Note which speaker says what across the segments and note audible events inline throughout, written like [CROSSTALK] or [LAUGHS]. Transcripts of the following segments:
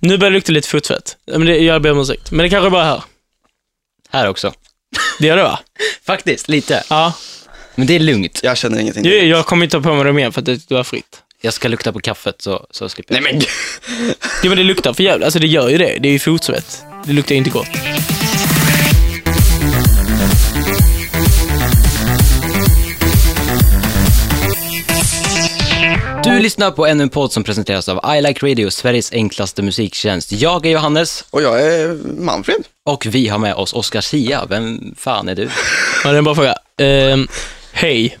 Speaker 1: Nu börjar det lukta lite fotsvett. Ja, Men det, jag ber om ursäkt. Men det kanske bara är här.
Speaker 2: Här också.
Speaker 1: Det gör det va?
Speaker 2: Faktiskt, lite.
Speaker 1: Ja.
Speaker 2: Men det är lugnt.
Speaker 3: Jag känner ingenting.
Speaker 1: Jag, jag kommer inte ta på mig dem igen för att det var fritt.
Speaker 2: Jag ska lukta på kaffet så, så slipper
Speaker 3: Nej
Speaker 2: jag.
Speaker 3: men gud.
Speaker 1: Ja men det luktar för jävligt. Alltså det gör ju det. Det är ju fotsvett. Det luktar inte gott.
Speaker 2: Du lyssnar på ännu en podd som presenteras av I Like Radio, Sveriges enklaste musiktjänst. Jag är Johannes
Speaker 3: Och jag är Manfred.
Speaker 2: och vi har med oss Oscar Sia. Vem fan är du?
Speaker 1: Ja, det är en bra fråga. Ehm, hej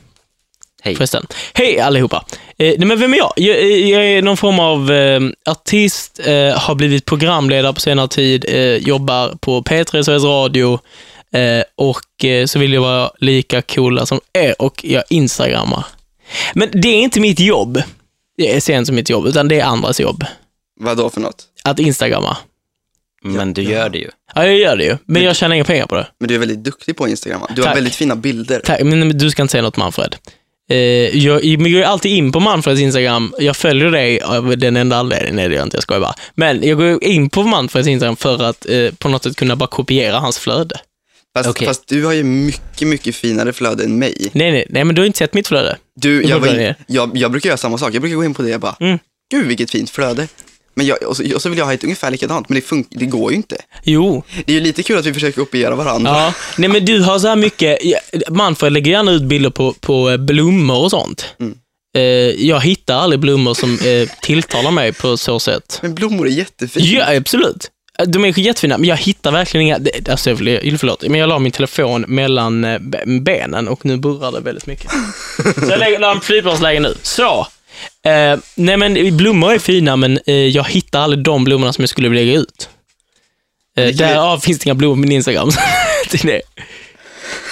Speaker 2: Hej.
Speaker 1: förresten. Hej allihopa. Eh, nej men vem är jag? Jag, eh, jag är någon form av eh, artist, eh, har blivit programledare på senare tid, eh, jobbar på P3 Sveriges Radio eh, och eh, så vill jag vara lika coola som er och jag instagrammar. Men det är inte mitt jobb. Det är sen som mitt jobb, utan det är andras jobb.
Speaker 3: Vad då för något?
Speaker 1: Att instagramma.
Speaker 2: Men du gör det ju.
Speaker 1: Ja, jag gör det ju, men jag tjänar inga pengar på det.
Speaker 3: Men du är väldigt duktig på Instagram va? Du har
Speaker 1: Tack.
Speaker 3: väldigt fina bilder.
Speaker 1: Tack, men men du ska inte säga något Manfred. Eh, jag, men jag går alltid in på Manfreds Instagram. Jag följer dig av den enda anledningen. Nej, det gör jag inte. Jag skojar bara. Men jag går in på Manfreds Instagram för att eh, på något sätt kunna bara kopiera hans flöde.
Speaker 3: Fast,
Speaker 2: Okej.
Speaker 3: fast du har ju mycket, mycket finare flöde än mig.
Speaker 1: Nej, nej, nej, men du har inte sett mitt flöde.
Speaker 3: Du,
Speaker 1: Jag
Speaker 3: jag, var
Speaker 1: går
Speaker 3: in,
Speaker 1: ner.
Speaker 3: jag, jag brukar göra samma sak. Jag brukar gå in på det och bara,
Speaker 1: Mm.
Speaker 3: gud vilket fint flöde. Men jag, och, så, och så vill jag ha ett ungefär likadant, men det, fun- det går ju inte.
Speaker 1: Jo.
Speaker 3: Det är ju lite kul att vi försöker kopiera varandra.
Speaker 1: Ja. Nej, men du har så här mycket. ja, Manfred lägger gärna ut bilder på, på eh, blommor och sånt.
Speaker 3: Mm.
Speaker 1: Eh, jag hittar aldrig blommor som eh, tilltalar mig på så sätt.
Speaker 3: Men blommor är jättefint.
Speaker 1: Ja, absolut. Äh, De är jättefina, men jag hittar verkligen inga... det- Alltså, jag vill- förlåt, men jag la min telefon mellan eh, be- benen och nu burrar det väldigt
Speaker 3: [LAUGHS]
Speaker 1: mycket. Så jag lägger- la en flygplansläge nu. Så! Eh, nej, men blommor är fina, men eh, jag hittar aldrig de blommorna som jag skulle vilja lägga ut. Eh,
Speaker 3: kan ju-
Speaker 1: därav finns det inga blommor på min Instagram. [LAUGHS] så det är det.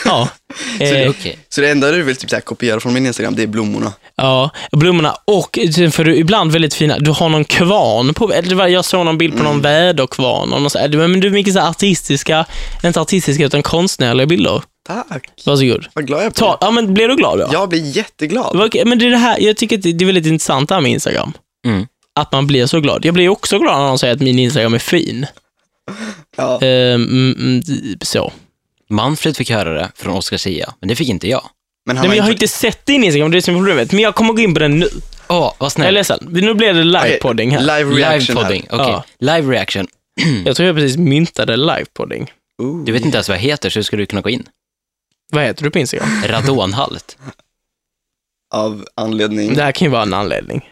Speaker 1: Ja.
Speaker 2: Okej.
Speaker 1: Eh,
Speaker 3: [LAUGHS] Så det enda du vill typ så här, kopiera från min Instagram, det är blommorna.
Speaker 1: Ja, blommorna och sen får du ibland väldigt fina, du har någon kvarn på, eller det var- jag såg någon bild på någon väderkvarn och någon så här, du- men du är mycket så här artistiska, inte artistiska utan konstnärliga bilder.
Speaker 3: Tack.
Speaker 1: Varsågod.
Speaker 3: Vad glad jag blir.
Speaker 1: Ta, Mm. ja men blir du glad då?
Speaker 3: Jag blir jätteglad.
Speaker 1: Det var okej, Men det är det här, jag tycker att det det är väldigt intressant det här med Instagram.
Speaker 2: Mm.
Speaker 1: Att man blir så glad. Jag blir också glad när någon säger att min Instagram är fin.
Speaker 3: Ja.
Speaker 1: Ehm, mm, mm, d- så.
Speaker 2: Manfred fick höra det från Oscar Sia, men det fick inte jag.
Speaker 3: Men han
Speaker 1: Nej, men jag
Speaker 3: har
Speaker 1: har inte sett din Instagram, det är det som är problemet. Men jag kommer gå in på den nu.
Speaker 2: Åh, vad
Speaker 1: Jag är
Speaker 2: snällt.
Speaker 1: ledsen. Nu blir det livepodding här.
Speaker 3: Live reaction här.
Speaker 2: Livepodding, okej.
Speaker 1: Ja.
Speaker 2: Live reaction.
Speaker 1: Jag tror jag precis myntade livepodding.
Speaker 3: Ooh.
Speaker 2: Du vet inte ens vad jag heter, så hur ska du kunna gå in?
Speaker 1: Vad heter du på Instagram?
Speaker 2: Radonhalt.
Speaker 3: Av anledning.
Speaker 1: Det här kan ju vara en anledning.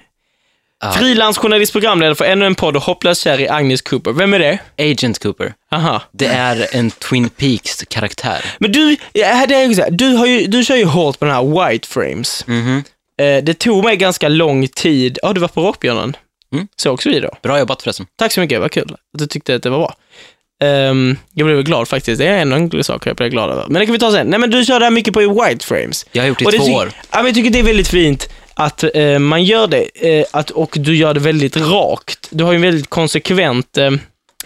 Speaker 2: Ah,
Speaker 1: Frilansjournalist, programledare för ännu en podd och hopplöst kär i Agnes Cooper. Vem är det?
Speaker 2: Agent Cooper.
Speaker 1: Aha.
Speaker 2: Det är en Twin Peaks-karaktär.
Speaker 1: Men du, ja, det är ju så här, du, har ju, du kör ju hårt på den här white frames.
Speaker 2: Mhm.
Speaker 1: Eh, det tog mig ganska lång tid. Ja, du var på Rockbjörnen.
Speaker 2: Mm.
Speaker 1: Sågs vi då?
Speaker 2: Bra jobbat förresten.
Speaker 1: Tack så mycket, vad kul att du tyckte att det var bra. Ehm, jag blev glad faktiskt. Det är en enkel sak jag blev glad över. Men det kan vi ta sen. Nej, men du kör det här mycket på white frames.
Speaker 2: Jag har gjort det
Speaker 1: Och
Speaker 2: i
Speaker 1: det
Speaker 2: två
Speaker 1: tycker-
Speaker 2: år.
Speaker 1: Ja, men jag tycker det är väldigt fint att eh, man gör det eh, att, och du gör det väldigt rakt. Du har ju en väldigt konsekvent eh,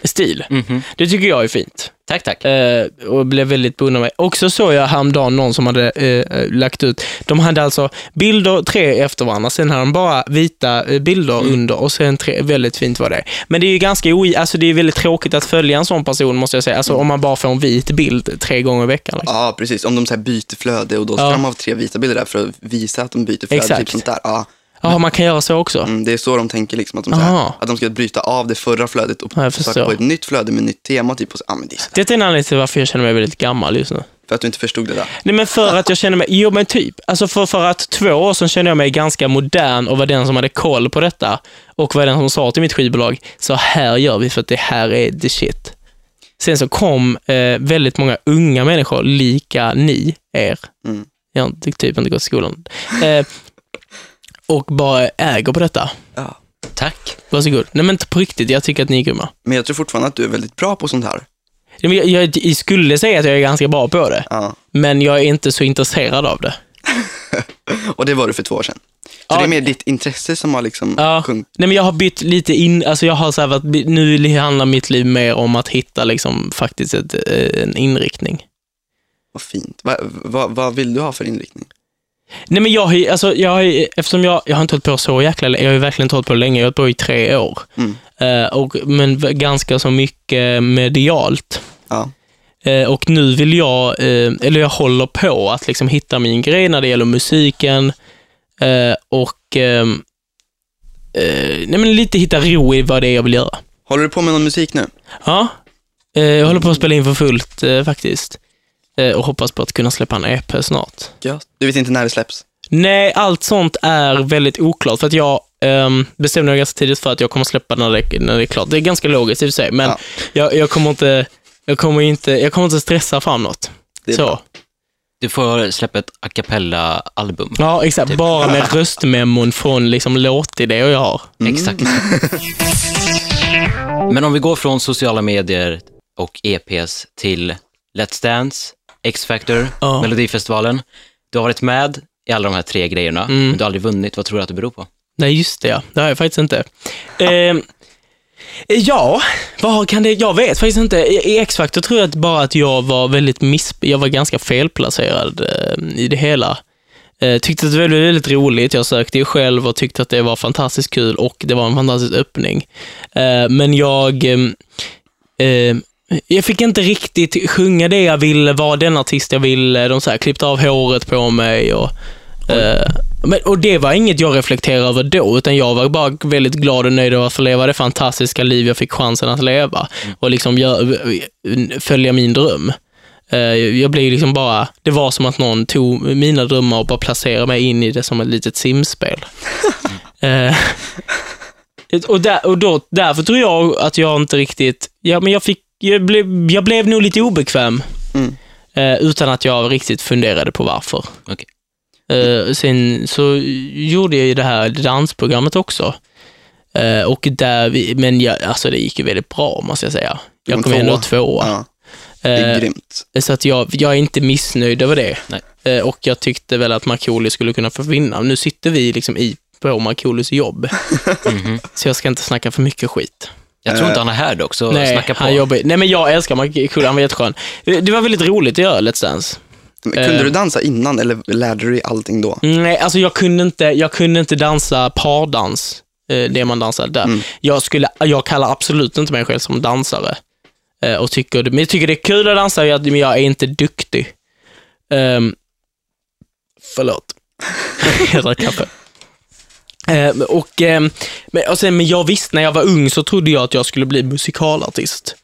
Speaker 1: stil.
Speaker 2: Mhm.
Speaker 1: Det tycker jag är fint
Speaker 2: Tack, tack.
Speaker 1: eh, och blev väldigt beundrad av mig. Också såg jag häromdagen någon som hade eh, eh, lagt ut, de hade alltså bilder tre efter varandra, sen hade de bara vita eh, bilder under och sen tre, väldigt fint var det. Men det är ju ganska oi, alltså det är väldigt tråkigt att följa en sån person måste jag säga, alltså om man bara får en vit bild tre gånger i veckan. Liksom.
Speaker 3: Ja, precis. Om de så här byter flöde och då ska
Speaker 1: Ja.
Speaker 3: de ha tre vita bilder där för att visa att de byter flöde.
Speaker 1: Exakt.
Speaker 3: Typ sånt där. Ja,
Speaker 1: Ja, man kan göra så också.
Speaker 3: mm, det är så de tänker, liksom, att, de, så här,
Speaker 1: Aha.
Speaker 3: att de ska bryta av det förra flödet och
Speaker 1: Ja, jag
Speaker 3: starta
Speaker 1: förstår.
Speaker 3: på ett nytt flöde med nytt tema. Typ, och så, ja, men det är så,
Speaker 1: Detta är en anledning till varför jag känner mig väldigt gammal just nu.
Speaker 3: för att du inte förstod det där.
Speaker 1: Nej, men för att jag känner mig, jo men typ. Alltså för, för att två år sedan kände jag mig ganska modern och var den som hade koll på detta. Och var den som sa till mitt skivbolag, så här gör vi för att det här är the shit. Sen så kom eh, väldigt många unga människor, lika ni, er.
Speaker 3: Mm.
Speaker 1: Jag har inte- typ inte gått i skolan. Eh, och bara äger på detta.
Speaker 3: Ja.
Speaker 2: Tack.
Speaker 1: Varsågod. Nej men inte på riktigt, jag tycker att ni är grymma.
Speaker 3: Men jag tror fortfarande att du är väldigt bra på sånt här.
Speaker 1: Nej, men Jag, jag, jag skulle säga att jag är ganska bra på det,
Speaker 3: Ja.
Speaker 1: men jag är inte så intresserad av det.
Speaker 3: Och det var du för två år sedan. Så
Speaker 1: Ja.
Speaker 3: det är mer ditt intresse som har liksom
Speaker 1: Ja.
Speaker 3: sjunkit.
Speaker 1: Nej, men jag har bytt lite in, alltså jag har så här varit, nu handlar mitt liv mer om att hitta liksom faktiskt ett, eh, en inriktning.
Speaker 3: Vad fint. Va, va, vad vill du ha för inriktning?
Speaker 1: Nej men jag har ju- alltså jag har ju- eftersom jag, jag har inte hållit på så jäkla länge, jag har ju verkligen inte hållit på länge, jag har hållit på i tre år.
Speaker 3: Mm.
Speaker 1: Eh, och, men v- ganska så mycket medialt.
Speaker 3: Ja.
Speaker 1: Eh, och nu vill jag, eh, eller jag håller på att liksom hitta min grej när det gäller musiken eh, och ehm, eh, nej, men lite hitta ro i vad det är jag vill göra.
Speaker 3: Håller du på med någon musik nu?
Speaker 1: Ja, eh, jag håller på att spela in för fullt eh, faktiskt eh, och hoppas på att kunna släppa en EP snart.
Speaker 3: Ja. Du vet inte när det släpps?
Speaker 1: Nej, allt sånt är väldigt oklart för att jag ehm, bestämde mig ganska tidigt för att jag kommer släppa när det, när det är klart. Det är ganska logiskt i och för sig, men
Speaker 3: Ja.
Speaker 1: jag, jag, kommer inte, jag, kommer inte, jag kommer inte stressa fram något.
Speaker 3: Det är
Speaker 1: Så.
Speaker 3: bra.
Speaker 2: Du får släppa ett a cappella-album.
Speaker 1: Ja, exakt. Bara med röstmemon från liksom låtidéer jag har. [LAUGHS]
Speaker 2: Exakt. Men om vi går från sociala medier och EPs till Let's Dance, X-Factor,
Speaker 1: Ja.
Speaker 2: Melodifestivalen. Du har varit med i alla de här tre grejerna,
Speaker 1: Mm.
Speaker 2: men du har aldrig vunnit. Vad tror du att det beror på?
Speaker 1: Nej, just det ja. Det har jag faktiskt inte. Ehm, ja, vad kan det... Jag vet faktiskt inte. I i X-Factor tror jag att bara att jag var väldigt miss... Jag var ganska felplacerad eh, i det hela. Eh, tyckte att det var väldigt, väldigt roligt. Jag sökte ju själv och tyckte att det var fantastiskt kul och det var en fantastisk öppning. Eh, men jag... ehm, ehm, jag fick inte riktigt sjunga det jag ville, vara den artist jag ville. De så här klippte av håret på mig och Eh, Men, och det var inget jag reflekterade över då, utan jag var bara väldigt glad och nöjd över att få leva det fantastiska liv jag fick chansen att leva och liksom gör, följa min dröm. Eh, Jag blev liksom bara, det var som att någon tog mina drömmar och bara placerade mig in i det som ett litet
Speaker 3: [LAUGHS]
Speaker 1: simspel. Eh, och där, och då, därför tror jag att jag inte riktigt, ja men jag fick, jag blev, jag blev nog lite obekväm.
Speaker 3: Mm.
Speaker 1: Eh, utan att jag riktigt funderade på varför.
Speaker 2: Okej.
Speaker 1: Eh, sen så gjorde jag ju det här dansprogrammet också. Eh, och där vi, men jag, alltså det gick ju väldigt bra, måste jag säga.
Speaker 3: Du
Speaker 1: Jag
Speaker 3: kom
Speaker 1: kom ändå
Speaker 3: tvåa.
Speaker 1: tvåa.
Speaker 3: Ja, det är
Speaker 1: Eh,
Speaker 3: grymt.
Speaker 1: så att jag, jag är inte missnöjd över det.
Speaker 2: Nej.
Speaker 1: Eh, och jag tyckte väl att Markoolio skulle kunna få vinna. Nu sitter vi liksom i på Markoolios jobb,
Speaker 2: Mhm.
Speaker 1: så jag ska inte snacka för mycket skit.
Speaker 2: Jag tror inte han är här dock, så
Speaker 1: Eh. Nej,
Speaker 2: snacka på.
Speaker 1: han jobbar, nej, men jag älskar Markoolio, han var jätteskön. Eh, Det var väldigt roligt att göra Let's Dance.
Speaker 3: Men kunde
Speaker 1: eh,
Speaker 3: du dansa innan eller lärde du dig allting då?
Speaker 1: Nej, alltså jag kunde inte, jag kunde inte dansa pardans, eh, det man dansar där.
Speaker 3: Mm.
Speaker 1: Jag, skulle, jag kallar absolut inte mig själv som dansare. Eh, och tycker, men jag tycker det är kul att dansa, jag- men jag är inte duktig. Um, förlåt. [LAUGHS] jag drack kaffe. Eh, och, ehm, men, och sen, men jag visste, när jag var ung så trodde jag att jag skulle bli musikalartist.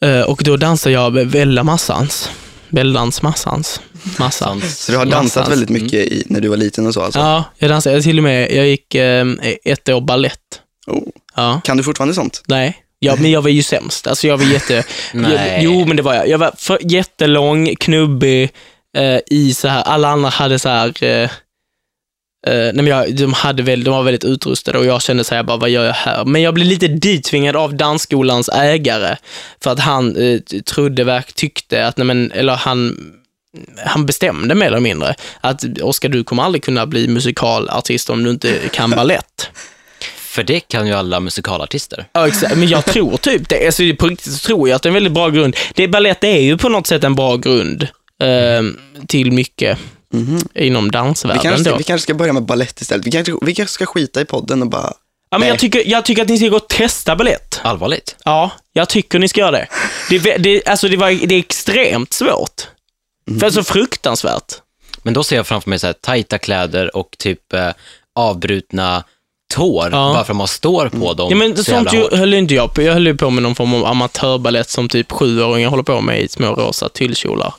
Speaker 1: Eh, och då dansade jag Vella Massans. Väldans Massans. Massans.
Speaker 3: Så du har dansat
Speaker 1: någonstans.
Speaker 3: väldigt mycket
Speaker 1: Mm.
Speaker 3: i, när du var liten och så alltså?
Speaker 1: Ja, jag dansade. Jag till och med, jag gick eh, ett år ballett.
Speaker 3: Oh.
Speaker 1: Ja,
Speaker 3: Kan du fortfarande sånt?
Speaker 1: nej. Ja, men jag var ju sämst. Alltså jag var jätte...
Speaker 2: Nej.
Speaker 1: Jo, men det var jag. Jag var för jättelång, knubbig, eh, i så här, alla andra hade så här... Eh, eh, nej men jag, de, hade väl, de var väldigt utrustade och jag kände så här, bara, vad gör jag här? Men jag blev lite ditvingad av dansskolans ägare för att han eh, t- trodde, verk, tyckte att, nej men, eller han han bestämde mer eller mindre att Oskar, du kommer aldrig kunna bli musikalartist om du inte kan ballett.
Speaker 2: För det kan ju alla musikalartister.
Speaker 1: Ja, exakt. Men jag tror typ det. Alltså, på riktigt så tror jag att det är en väldigt bra grund. Det, ballett är ju på något sätt en bra grund ehm, till mycket inom
Speaker 3: Mhm. Vi
Speaker 1: dansvärlden.
Speaker 3: kanske,
Speaker 1: då.
Speaker 3: vi kanske ska börja med ballett istället. Vi kanske, vi kanske ska skita i podden och bara...
Speaker 1: ja, men jag,
Speaker 3: nej.
Speaker 1: tycker, jag tycker att ni ska gå och testa ballett.
Speaker 2: Allvarligt.
Speaker 1: Ja, jag tycker ni ska göra det. Det, är vä- det, alltså, det, var, det är extremt svårt. För det
Speaker 3: Mhm.
Speaker 1: är så fruktansvärt.
Speaker 2: Men då ser jag framför mig så här tajta kläder och typ eh, avbrutna tår,
Speaker 1: Ja.
Speaker 2: bara för att man står på dem
Speaker 1: Ja,
Speaker 3: Mm,
Speaker 1: men
Speaker 2: så
Speaker 1: sånt
Speaker 2: jävla hårt.
Speaker 1: ju, höll inte jag på. Jag höll ju på med någon form av amatörballett som typ sjuåringar håller på med i små rosa tyllkjolar.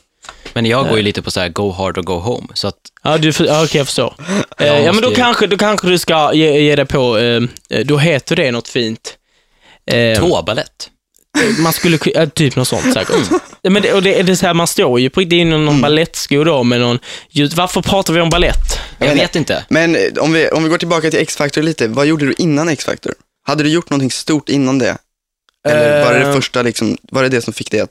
Speaker 2: Men jag går ju lite på så här go hard och go home, så att
Speaker 1: Ja, du, för- ja, okej, jag
Speaker 2: [LAUGHS]
Speaker 1: förstår. Eh, ja, men då
Speaker 2: måste ju-
Speaker 1: kanske, då kanske du ska ge, ge dig på, eh, eh, då heter det något fint. Eh,
Speaker 2: tåbalett.
Speaker 1: man skulle ku- ja, typ något sånt säkert.
Speaker 2: Mm.
Speaker 1: Men det, och det, det är så här, man står ju på riktigt inom någon balettsko då med någon ljud. Varför pratar vi om ballett?
Speaker 2: Jag,
Speaker 3: menar-
Speaker 2: vet inte.
Speaker 3: Men eh, om vi, om vi går tillbaka till X-Factor lite, vad gjorde du innan X-Factor? Hade du gjort någonting stort innan det? Eller var det det
Speaker 1: Eh.
Speaker 3: första, liksom, var det det som fick dig att,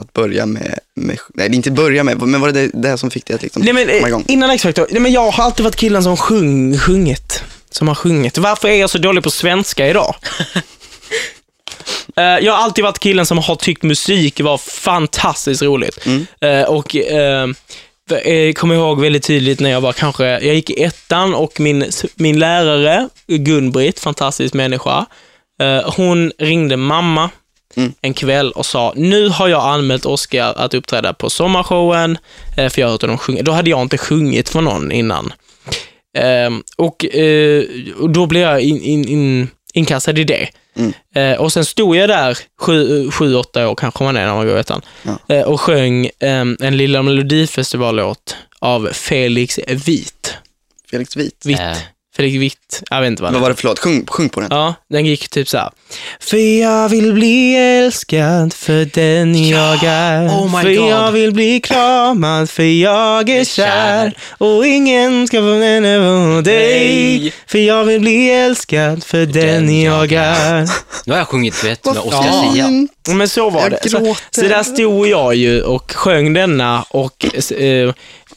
Speaker 3: att börja med, med, nej det är inte börja med, men var det det, det som fick dig att liksom
Speaker 1: Nej, men,
Speaker 3: komma
Speaker 1: eh,
Speaker 3: igång?
Speaker 1: innan X-Factor, nej, men jag har alltid varit killen som sjung, sjungit. Som har sjungit. Varför är jag så dålig på svenska
Speaker 3: [LAUGHS]
Speaker 1: idag? Eh, jag har alltid varit killen som har tyckt musik var fantastiskt roligt.
Speaker 3: Mm.
Speaker 1: Eh, och eh, eh, kommer ihåg väldigt tydligt när jag var kanske, jag gick i ettan och min, min lärare Gun-Britt, fantastisk människa, Eh, Hon ringde mamma
Speaker 3: Mm.
Speaker 1: en kväll och sa, nu har jag anmält Oscar att uppträda på sommarshowen, eh, för jag har hört honom sjunga. Då hade jag inte sjungit för någon innan. Ehm, och, eh, och då blev jag in, in, in, inkastad i det.
Speaker 3: Mm.
Speaker 1: Eh, och sen stod jag där, sju, sju, åtta år kanske man är när man går i ettan,
Speaker 3: Ja.
Speaker 1: eh, och sjöng ehm, en Lilla Melodifestivallåt av Felix Vit.
Speaker 3: Felix Vit.
Speaker 1: Vitt.
Speaker 2: Eh.
Speaker 1: Felix Vitt, jag vet inte vad han
Speaker 3: Vad var det för låt? Sjung, sjung på den.
Speaker 1: Ja, den gick typ så här. För jag vill bli älskad för den jag är.
Speaker 2: oh my
Speaker 1: för
Speaker 2: God.
Speaker 1: jag vill bli kramad för jag är kär.
Speaker 2: kär.
Speaker 1: Och ingen ska få den över dig.
Speaker 2: Nej.
Speaker 1: För jag vill bli älskad för den, jag är.
Speaker 2: Nu har jag sjungit duett med
Speaker 3: Vad
Speaker 2: Oscar Zia.
Speaker 3: fint.
Speaker 1: Men så var
Speaker 3: Jag
Speaker 1: det. Så,
Speaker 3: gråter.
Speaker 1: så där stod jag ju och sjöng denna och, eh,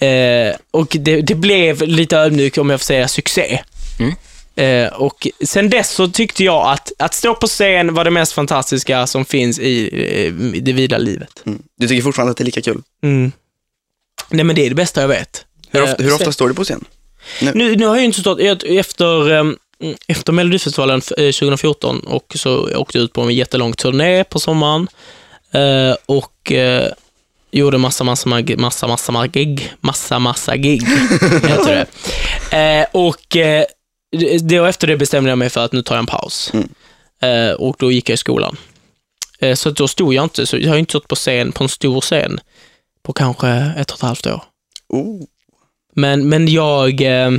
Speaker 1: eh, och det, det blev lite ödmjuk om jag får säga succé.
Speaker 2: Mm.
Speaker 1: Eh, och sen dess så tyckte jag att, att stå på scen var det mest fantastiska som finns i eh, det vida livet.
Speaker 3: Mm. Du tycker fortfarande att det är lika kul?
Speaker 1: Mm. Nej men det är det bästa jag vet.
Speaker 3: Hur
Speaker 1: Eh,
Speaker 3: ofta, hur
Speaker 1: så-
Speaker 3: ofta står du på scen?
Speaker 1: nu, nu har jag ju inte stått, jag- efter, ehm, efter Melodifestivalen eh, 2014 och så åkte jag ut på en jättelång turné på sommaren eh, och eh, gjorde massa, massa, mag- massa, massa, massa gig. Massa, massa gig, heter det. Eh, och eh, det, och efter det bestämde jag mig för att nu tar jag en paus.
Speaker 3: Mm.
Speaker 1: Eh, och då gick jag i skolan. Eh, så att då stod jag inte, så jag har ju inte stått på scen, på en stor scen, på kanske ett och ett halvt år.
Speaker 3: Oh.
Speaker 1: Men, men jag... eh,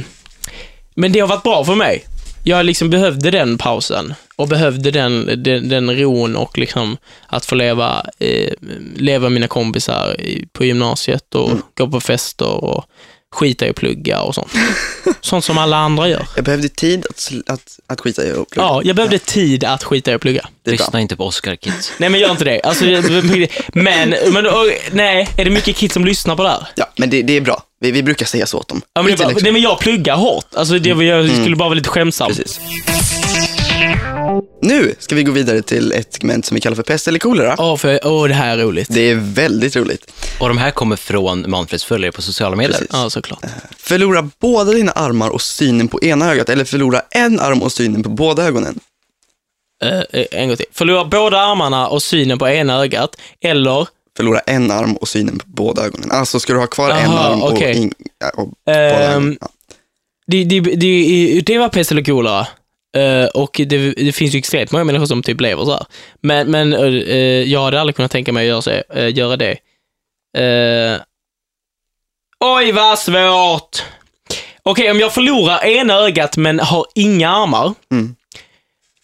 Speaker 1: Men det har varit bra för mig. Jag liksom behövde den pausen och behövde den, den, den ron och liksom att få leva, eh, leva mina kompisar i, på gymnasiet och gå på fester och skita i att plugga och sånt. sånt som alla andra gör.
Speaker 3: Jag behövde tid att, sl- att, att skita i och plugga.
Speaker 1: Ja, jag behövde tid att skita i att plugga.
Speaker 3: det är bra.
Speaker 2: Lyssna inte på Oscar Kids.
Speaker 1: Nej, men gör inte det. Alltså, jag- men, men och, nej, är det mycket kids som lyssnar på det här?
Speaker 3: Ja, men det, det är bra. Vi, vi brukar säga så åt dem.
Speaker 1: Ja, men det
Speaker 3: Skit i liksom.
Speaker 1: är bara,
Speaker 3: läxor.
Speaker 1: nej, men jag pluggar hårt. Alltså, det, var- jag skulle bara vara lite skämtsam.
Speaker 3: Precis. Nu ska vi gå vidare till ett segment som vi kallar för pest eller kolera.
Speaker 1: Åh, för, åh, det här är roligt.
Speaker 3: Det är väldigt roligt.
Speaker 2: Och de här kommer från Manfreds följare på sociala medier.
Speaker 3: Precis.
Speaker 1: Ja, såklart.
Speaker 3: Förlora båda dina armar och synen på ena ögat eller förlora en arm och synen på båda ögonen.
Speaker 1: Eh, eh, en gång till. Förlora båda armarna och synen på ena ögat, eller
Speaker 3: Förlora en arm och synen på båda ögonen. Alltså ska du ha kvar en
Speaker 1: Aha,
Speaker 3: arm och,
Speaker 1: okej. Ehm,
Speaker 3: in, ja, och båda ögonen. Ja.
Speaker 1: det, det, det, det var pest eller kolera. Eh, och det, det finns ju extremt många människor som typ lever så här. Men, men eh, eh, jag hade aldrig kunnat tänka mig att göra, så, eh, göra det. Eh, oj, vad svårt! Okej, om jag förlorar ena ögat men har inga armar.
Speaker 3: Mm.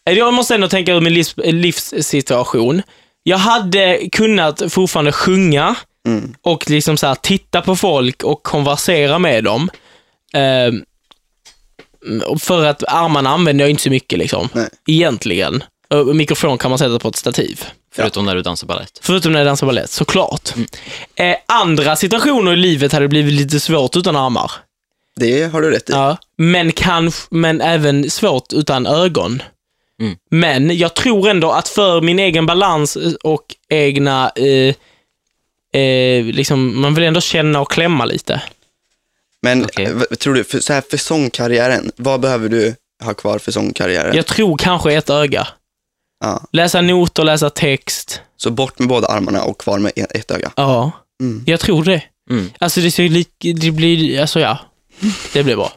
Speaker 1: Eh, Jag måste ändå tänka ur min livs, eh, livssituation. Jag hade kunnat fortfarande sjunga
Speaker 3: Mm.
Speaker 1: och liksom så här, titta på folk och konversera med dem. Ehm, och för att armarna använder jag inte så mycket liksom.
Speaker 3: Nej.
Speaker 1: Egentligen. Och Mikrofon kan man sätta på ett stativ.
Speaker 2: Förutom när du dansar balett.
Speaker 1: Förutom när jag dansar balett, såklart. Eh, andra situationer i livet hade blivit lite svårt utan armar.
Speaker 3: Det har du rätt i.
Speaker 1: Ja. Men, kanske, men även svårt utan ögon.
Speaker 2: Mm.
Speaker 1: Men jag tror ändå att för min egen balans och egna... Eh, eh, liksom, man vill ändå känna och klämma lite.
Speaker 3: Men
Speaker 2: Okej.
Speaker 3: eh, vad tror du, för, så här för sångkarriären, vad behöver du ha kvar för sångkarriären?
Speaker 1: Jag tror kanske ett öga.
Speaker 3: Ja.
Speaker 1: Läsa noter, läsa text.
Speaker 3: Så bort med båda armarna och kvar med en- ett öga.
Speaker 1: Ja,
Speaker 3: Mm.
Speaker 1: jag tror det.
Speaker 2: Mm.
Speaker 1: Alltså det, ser lik, det blir... Alltså ja. Det blir bra.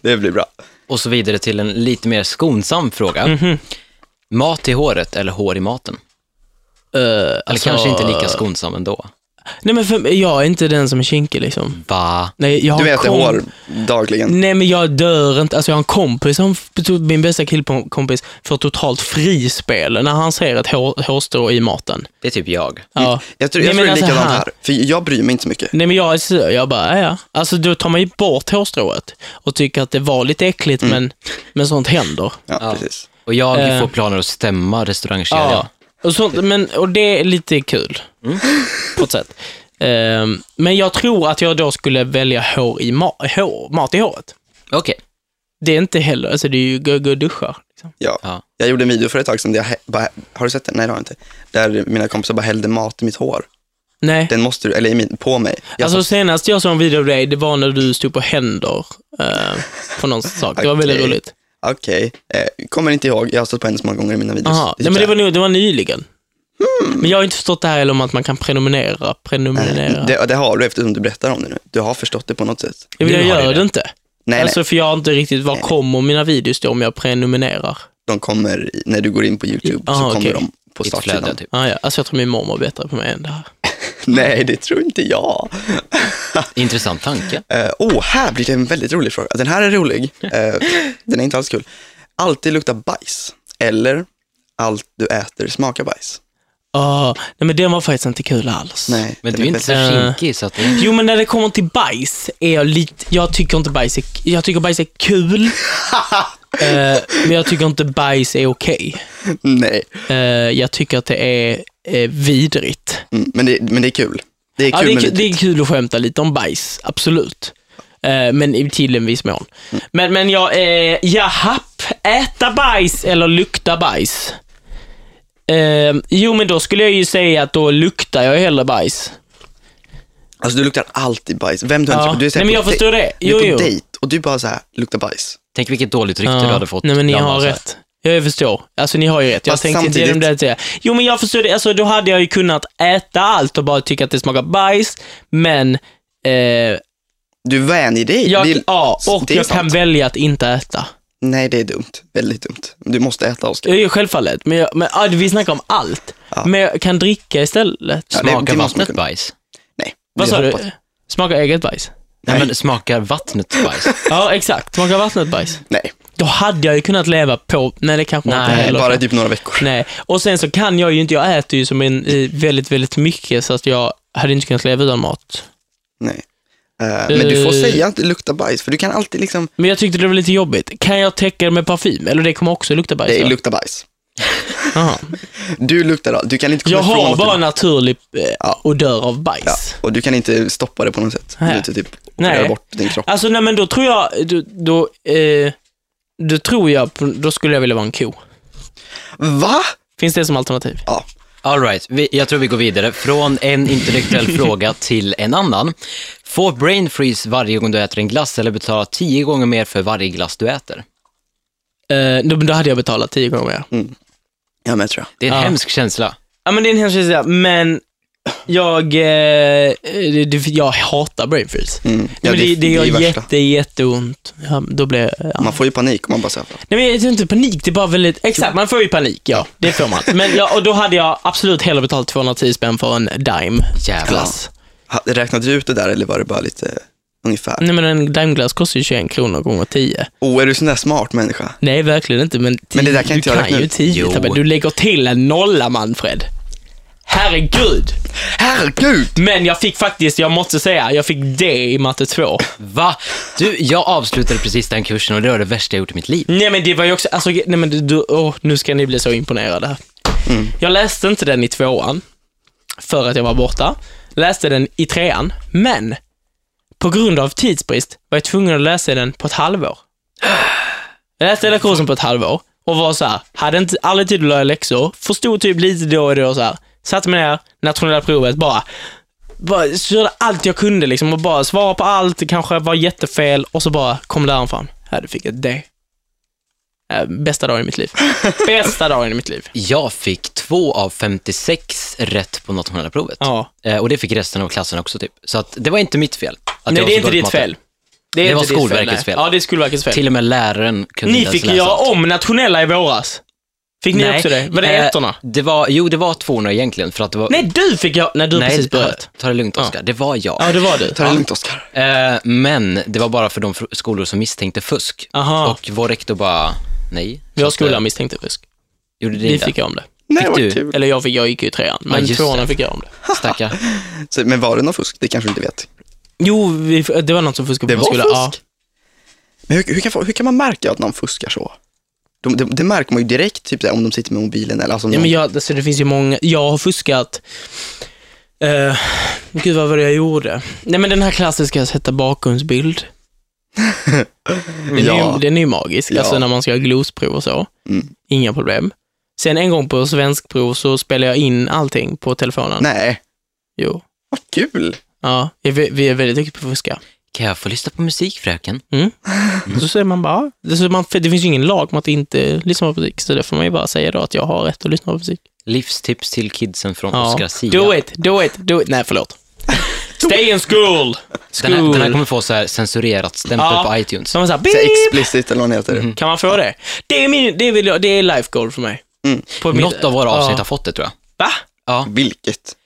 Speaker 3: Det blir bra.
Speaker 2: Och så vidare till en lite mer skonsam fråga.
Speaker 1: Mm. Mhm.
Speaker 2: Mat i håret eller hår i maten?
Speaker 1: Eller
Speaker 2: Eller kanske inte lika skonsam ändå.
Speaker 1: Nej men för, jag är inte den som är kinkig liksom.
Speaker 2: Va?
Speaker 1: Nej, jag har
Speaker 3: Du äter
Speaker 1: kom-
Speaker 3: hår dagligen.
Speaker 1: Nej men jag dör inte. Alltså jag har en kompis, som, min bästa killkompis, får totalt frispel när han ser ett hår, hårstrå i maten.
Speaker 2: Det är typ jag.
Speaker 1: Ja.
Speaker 3: Jag tror,
Speaker 1: Nej,
Speaker 3: jag tror
Speaker 1: men
Speaker 3: det är
Speaker 1: alltså
Speaker 3: likadant
Speaker 1: här-
Speaker 3: här, för jag bryr mig inte så mycket.
Speaker 1: Nej men jag är sur. Jag bara, ja, ja. Alltså då tar man ju bort hårstrået och tycker att det var lite äckligt
Speaker 3: Mm.
Speaker 1: men, men sånt händer.
Speaker 3: Ja,
Speaker 2: Ja.
Speaker 3: precis.
Speaker 2: Och jag
Speaker 1: Eh.
Speaker 2: får planer att stämma restaurangkedjan.
Speaker 1: Ja. Och, sånt, men, och det är lite kul. [LAUGHS] På ett sätt. Ehm, men jag tror att jag då skulle välja hår i ma- hår, mat i håret.
Speaker 2: Okej.
Speaker 1: Det är inte heller, alltså det är ju gå, gå och duscha. Liksom.
Speaker 3: Ja.
Speaker 2: Ja.
Speaker 3: Jag gjorde en video för ett tag sedan där jag hä- bara, har du sett den? Nej det har jag inte. Där mina kompisar bara hällde mat i mitt hår.
Speaker 1: Nej.
Speaker 3: Den måste du, eller i min, på mig. Jag
Speaker 1: Alltså senast
Speaker 3: [LAUGHS]
Speaker 1: jag såg en video av dig, det var när du stod på händer eh, på någon sak. Det var väldigt
Speaker 3: Okej.
Speaker 1: roligt.
Speaker 3: sa, okej. Eh, kommer inte ihåg, jag har stått på henne så många gånger i mina videos.
Speaker 1: Aha,
Speaker 3: Det är
Speaker 1: nej, men
Speaker 3: typ
Speaker 1: det var, nog- det var nyligen.
Speaker 3: Hmm.
Speaker 1: Men jag har inte förstått det här heller om att man kan prenumerera.
Speaker 3: så här,
Speaker 1: Prenumerera.
Speaker 3: eh, det, det har du eftersom du berättar om det nu. Du har förstått det på något sätt.
Speaker 1: jag vill,
Speaker 2: du
Speaker 1: jag
Speaker 2: har
Speaker 1: gör
Speaker 2: det.
Speaker 1: det inte.
Speaker 3: Nej,
Speaker 1: alltså,
Speaker 3: nej,
Speaker 1: för jag har inte riktigt, var kommer mina videos då om jag prenumererar?
Speaker 3: de kommer, i- när du går in på YouTube så
Speaker 1: Aha,
Speaker 3: kommer
Speaker 1: okej.
Speaker 3: de på
Speaker 2: I ett flöde,
Speaker 3: startsidan.
Speaker 2: typ.
Speaker 1: Ah, ja. Alltså jag tror min mormor är bättre på mig än det här.
Speaker 3: Nej, det tror inte jag.
Speaker 2: Intressant tanke.
Speaker 3: Eh, oh, här blir det en väldigt rolig fråga. Den här är rolig. Eh, den är inte alls kul. Alltid lukta bajs. Eller allt du äter smakar bajs.
Speaker 1: Ah, nej men den var faktiskt inte kul alls.
Speaker 3: Nej,
Speaker 2: Men
Speaker 3: den
Speaker 2: du är inte
Speaker 3: väldigt-
Speaker 2: så
Speaker 1: Eh.
Speaker 2: kinkig så att... det-
Speaker 1: Jo men när det kommer till bajs är jag lite, jag tycker inte bajs är, jag tycker bajs är
Speaker 3: [LAUGHS]
Speaker 1: kul. Eh, men jag tycker inte bajs är okej.
Speaker 3: [LAUGHS] Nej,
Speaker 1: Eh, jag tycker att det är eh, vidrigt.
Speaker 3: mm, men det, men det är kul. Det är kul
Speaker 1: Ja, det, är,
Speaker 3: men
Speaker 1: ku- det
Speaker 3: vidrigt.
Speaker 1: är kul att skämta lite om bajs, absolut. Eh, men i- till en viss mån.
Speaker 3: Mm.
Speaker 1: Men, men jag, eh, jahapp, äta bajs eller lukta bajs? Eh, jo, men då skulle jag ju säga att då luktar jag hellre bajs.
Speaker 3: Alltså du luktar alltid bajs. Vem du än
Speaker 1: Ja.
Speaker 3: träffar, du är så här
Speaker 1: Nej, men
Speaker 3: på
Speaker 1: jag förstår
Speaker 3: dej-
Speaker 1: det.
Speaker 3: du
Speaker 1: Jo,
Speaker 3: är på
Speaker 1: jo.
Speaker 3: dejt och du bara så här, luktar bajs.
Speaker 2: Tänk vilket dåligt rykte du hade fått.
Speaker 1: Nej, men ni
Speaker 2: bland
Speaker 1: har
Speaker 2: oss här.
Speaker 1: rätt. Jag förstår. Alltså ni har ju rätt. Jag
Speaker 3: Fast
Speaker 1: tänkte inte
Speaker 3: samtidigt-
Speaker 1: genom det att säga. Jo, men jag förstår det. Alltså då hade jag ju kunnat äta allt och bara tycka att det smakar bajs, men eh,
Speaker 3: Du vänjer dig.
Speaker 1: jag,
Speaker 3: Det är-
Speaker 1: ja, och
Speaker 3: det är
Speaker 1: jag
Speaker 3: sant.
Speaker 1: kan välja att inte äta.
Speaker 3: Nej, det är dumt. Väldigt dumt. Du måste äta, Oskar.
Speaker 1: Ja, ja, självfallet. Men, jag, men ja, vi snackar om allt. Men jag kan dricka istället.
Speaker 3: Ja, det- det
Speaker 2: Smakar
Speaker 3: måste man
Speaker 2: vattnet
Speaker 3: kunna.
Speaker 2: bajs?
Speaker 3: Nej.
Speaker 1: Vad
Speaker 3: vi
Speaker 1: sa
Speaker 3: hoppas.
Speaker 1: du? Smaka eget bajs?
Speaker 2: Nej, men smakar vattnet
Speaker 1: [LAUGHS]
Speaker 2: bajs?
Speaker 1: Ja, exakt. Smaka vattnet bajs.
Speaker 3: Nej,
Speaker 1: Då hade jag ju kunnat leva på... Nej, det kanske man inte
Speaker 3: Nej
Speaker 1: heller
Speaker 3: bara
Speaker 1: kan.
Speaker 3: typ några veckor.
Speaker 1: Nej, och sen så kan jag ju inte, jag äter ju som en eh, väldigt, väldigt mycket så att jag hade inte kunnat leva utan mat.
Speaker 3: Nej. Eh, men du får
Speaker 1: Eh. Alltså.
Speaker 3: säga att det luktar bajs, för du kan alltid liksom,
Speaker 1: Men jag tyckte det var lite jobbigt. Kan jag täcka det med parfym? Eller det kommer också lukta bajs?
Speaker 3: det
Speaker 1: va?
Speaker 3: luktar bajs.
Speaker 1: Jaha.
Speaker 3: Du luktar allt. Du kan inte komma
Speaker 1: Jag
Speaker 3: ifrån
Speaker 1: har
Speaker 3: att
Speaker 1: bara
Speaker 3: du,
Speaker 1: naturlig eh, odör av bajs.
Speaker 3: ja, Och du kan inte stoppa det på något sätt. Du
Speaker 1: Nej.
Speaker 3: måste typ
Speaker 1: Nej.
Speaker 3: göra bort din kropp.
Speaker 1: Alltså nej men då tror jag, då, då, eh, då tror jag, på- då skulle jag vilja vara en ko.
Speaker 3: Va?
Speaker 1: Finns det som alternativ?
Speaker 3: Ja.
Speaker 2: All right, vi, jag tror vi går vidare. Från
Speaker 1: [LAUGHS]
Speaker 2: en intellektuell fråga till en annan. Få brain freeze varje gång du äter en glass eller betala tio gånger mer för varje glass du äter?
Speaker 1: Eh, då, då hade jag betalat tio gånger mer.
Speaker 3: Ja, men tror jag.
Speaker 2: Det är en
Speaker 1: Ja.
Speaker 2: hemsk känsla.
Speaker 1: Ja men det är en hemsk känsla, men jag, eh, det, det, jag hatar brain freeze.
Speaker 3: Mm.
Speaker 1: Nej, men det, det
Speaker 3: är
Speaker 1: gör
Speaker 3: värsta.
Speaker 1: jätte, jätteont. Ja, då blir jag, ja.
Speaker 3: Man får ju panik om man bara säger
Speaker 1: Nej men jag tror inte panik, det är bara väldigt, exakt man får ju panik, ja. Det får man. Men ja, och då hade jag absolut hellre betalat 210 spänn för en dime.
Speaker 2: Jävlar.
Speaker 1: Glass.
Speaker 3: "Ha, Räknade du ut det där eller var det bara lite ungefär?
Speaker 1: Nej men en dimeglass kostar ju 21 kronor gånger 10.
Speaker 3: Oh, är du sån där smart människa?
Speaker 1: Nej, verkligen inte. Men, tio,
Speaker 3: Men det där kan inte
Speaker 1: du
Speaker 3: jag
Speaker 1: kan
Speaker 3: räkna
Speaker 1: ju
Speaker 3: ut.
Speaker 1: tio
Speaker 2: Jo.
Speaker 1: Tabbe. Du lägger till en nolla, Manfred. Herregud!
Speaker 3: Herregud!
Speaker 1: Men jag fick faktiskt, jag måste säga, jag fick D i matte 2.
Speaker 2: Va? Du, jag avslutade precis den kursen och det var det värsta jag gjort i mitt liv.
Speaker 1: Nej men det var ju också, alltså, nej men du- du, åh, nu ska ni bli så imponerade. här. Jag läste inte den i tvåan, för att jag var borta. Läste den i trean, men på grund av tidsbrist var jag tvungen att läsa den på ett halvår. Jag läste hela kursen på ett halvår och var så här, hade inte, aldrig tid att lära läxor, förstod typ lite då och då så här. Satte mig ner, nationella provet, bara, bara körde allt jag kunde liksom och bara svara på allt, det kanske var jättefel och så bara kom läraren fram. Här, du fick ett D. Eh, Bästa dagen i [LAUGHS] mitt liv. Bästa dagen i mitt liv.
Speaker 2: Jag fick två av 56 rätt på nationella provet.
Speaker 1: Ja.
Speaker 2: Eh, Och det fick resten av klassen också typ. Så att det var inte mitt fel. Att jag
Speaker 1: Nej,
Speaker 2: var
Speaker 1: det är
Speaker 2: så
Speaker 1: inte
Speaker 2: dålig på
Speaker 1: ditt
Speaker 2: matte.
Speaker 1: fel.
Speaker 2: Det
Speaker 1: är
Speaker 2: var
Speaker 1: inte ditt
Speaker 2: Skolverkets
Speaker 1: nej.
Speaker 2: fel.
Speaker 1: Ja, det är Skolverkets fel.
Speaker 2: Till och med läraren kunde
Speaker 1: ni
Speaker 2: inte ens
Speaker 1: fick
Speaker 2: läsa
Speaker 1: göra
Speaker 2: allt.
Speaker 1: om nationella i våras. Fick ni också det? Var det
Speaker 2: eh,
Speaker 1: ettorna?
Speaker 2: Det var, jo, det var tvåorna egentligen. För att det var,
Speaker 1: Nej, du fick göra... Nej, du har
Speaker 2: Nej,
Speaker 1: precis börjat.
Speaker 2: Ta det lugnt Oskar, det var jag.
Speaker 1: Ja, det var du.
Speaker 3: Ta det lugnt, Oskar.
Speaker 2: Eh, men det var bara för de fr- skolor som misstänkte fusk.
Speaker 1: Aha.
Speaker 2: Och vår rektor bara, nej. Så
Speaker 1: Jag
Speaker 2: att, eh,
Speaker 1: skolan misstänkte fusk.
Speaker 2: Gjorde det
Speaker 1: Vi
Speaker 2: inte?
Speaker 1: fick göra om det.
Speaker 3: Nej, vad
Speaker 2: du?
Speaker 3: kul.
Speaker 1: Eller jag fick, jag gick ju i trean, men
Speaker 2: just
Speaker 1: tvåorna
Speaker 2: det.
Speaker 1: fick jag om det.
Speaker 2: Stackarn.
Speaker 3: Så, men var det någon fusk? Det kanske du inte vet.
Speaker 1: Jo, vi, det var någon som fuskade på
Speaker 3: Det
Speaker 1: vår
Speaker 3: var
Speaker 1: skola. Ja.
Speaker 3: fusk. Men hur, hur, kan, få- hur kan man märka att någon fuskar så? De, de, det märker man ju direkt, typ där, om de sitter med mobilen eller alltså, om
Speaker 1: Ja,
Speaker 3: någon-
Speaker 1: men jag, alltså, det finns ju många, jag har fuskat. Uh, gud, vad var det jag gjorde? Nej, men den här klassiska sätta
Speaker 3: [LAUGHS]
Speaker 1: bakgrundsbild. Den, är, ju,
Speaker 3: ja.
Speaker 1: den är ju magisk,
Speaker 3: Ja.
Speaker 1: alltså när man ska göra glosprov och så.
Speaker 3: Mm.
Speaker 1: Inga problem. Sen en gång på svenskprov så spelade jag in allting på telefonen.
Speaker 3: Nej,
Speaker 1: Jo.
Speaker 3: vad kul.
Speaker 1: Ja, vi, vi är väldigt duktiga på att fuska.
Speaker 2: Kan jag få lyssna på musik, fröken?
Speaker 3: Mm.
Speaker 1: Så säger man bara, ja. så man, för det finns ju ingen lag om att inte lyssna på musik, så det får man ju bara säga då att jag har rätt att lyssna på musik.
Speaker 2: Livstips till kidsen från
Speaker 1: Ja.
Speaker 2: Oscar Sia.
Speaker 1: Do it, do it, do it. Nej,
Speaker 2: [LAUGHS]
Speaker 1: förlåt. Stay in school!
Speaker 2: Den här,
Speaker 1: School.
Speaker 2: den här kommer få så här censurerat stämpel
Speaker 1: Ja.
Speaker 2: på iTunes.
Speaker 1: Så man säger,
Speaker 3: Så här
Speaker 1: beep!
Speaker 3: explicit eller vad den heter.
Speaker 1: Kan man få det? Det är, min, det vill jag, det är life goal för mig. På mitt-
Speaker 2: Mm. Något av våra avsnitt
Speaker 1: Ja.
Speaker 2: har fått det, tror jag.
Speaker 1: Va?
Speaker 2: Ja.
Speaker 3: Vilket?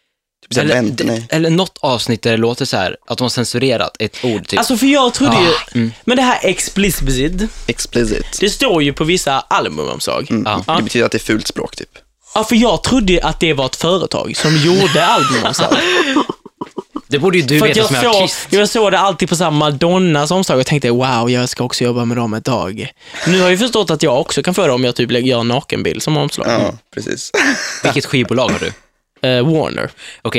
Speaker 3: Typ såhär,
Speaker 2: Eller,
Speaker 3: vänt, nej.
Speaker 2: eller något avsnitt där det låter så här, att de har censurerat ett ord, typ.
Speaker 1: Alltså för jag trodde
Speaker 2: Ah,
Speaker 1: ju,
Speaker 2: mm.
Speaker 1: men det här explicit,
Speaker 3: Explicit.
Speaker 1: det står ju på vissa albumomslag.
Speaker 3: Mm.
Speaker 2: Ja.
Speaker 3: Det betyder att det är fult språk typ.
Speaker 1: Ja, för jag trodde ju att det var ett företag som
Speaker 2: [LAUGHS]
Speaker 1: gjorde albumomslag.
Speaker 2: det borde ju du
Speaker 1: För att
Speaker 2: veta
Speaker 1: jag,
Speaker 2: som är
Speaker 1: såg,
Speaker 2: artist.
Speaker 1: jag såg det alltid på samma Madonnas omslag och tänkte wow, jag ska också jobba med dem ett dag. Nu har jag ju förstått att jag också kan få det om jag typ lägger- gör en nakenbild som omslag.
Speaker 3: Ja, precis. [LAUGHS]
Speaker 2: Vilket skivbolag har du? Okej,
Speaker 1: Eh, Warner.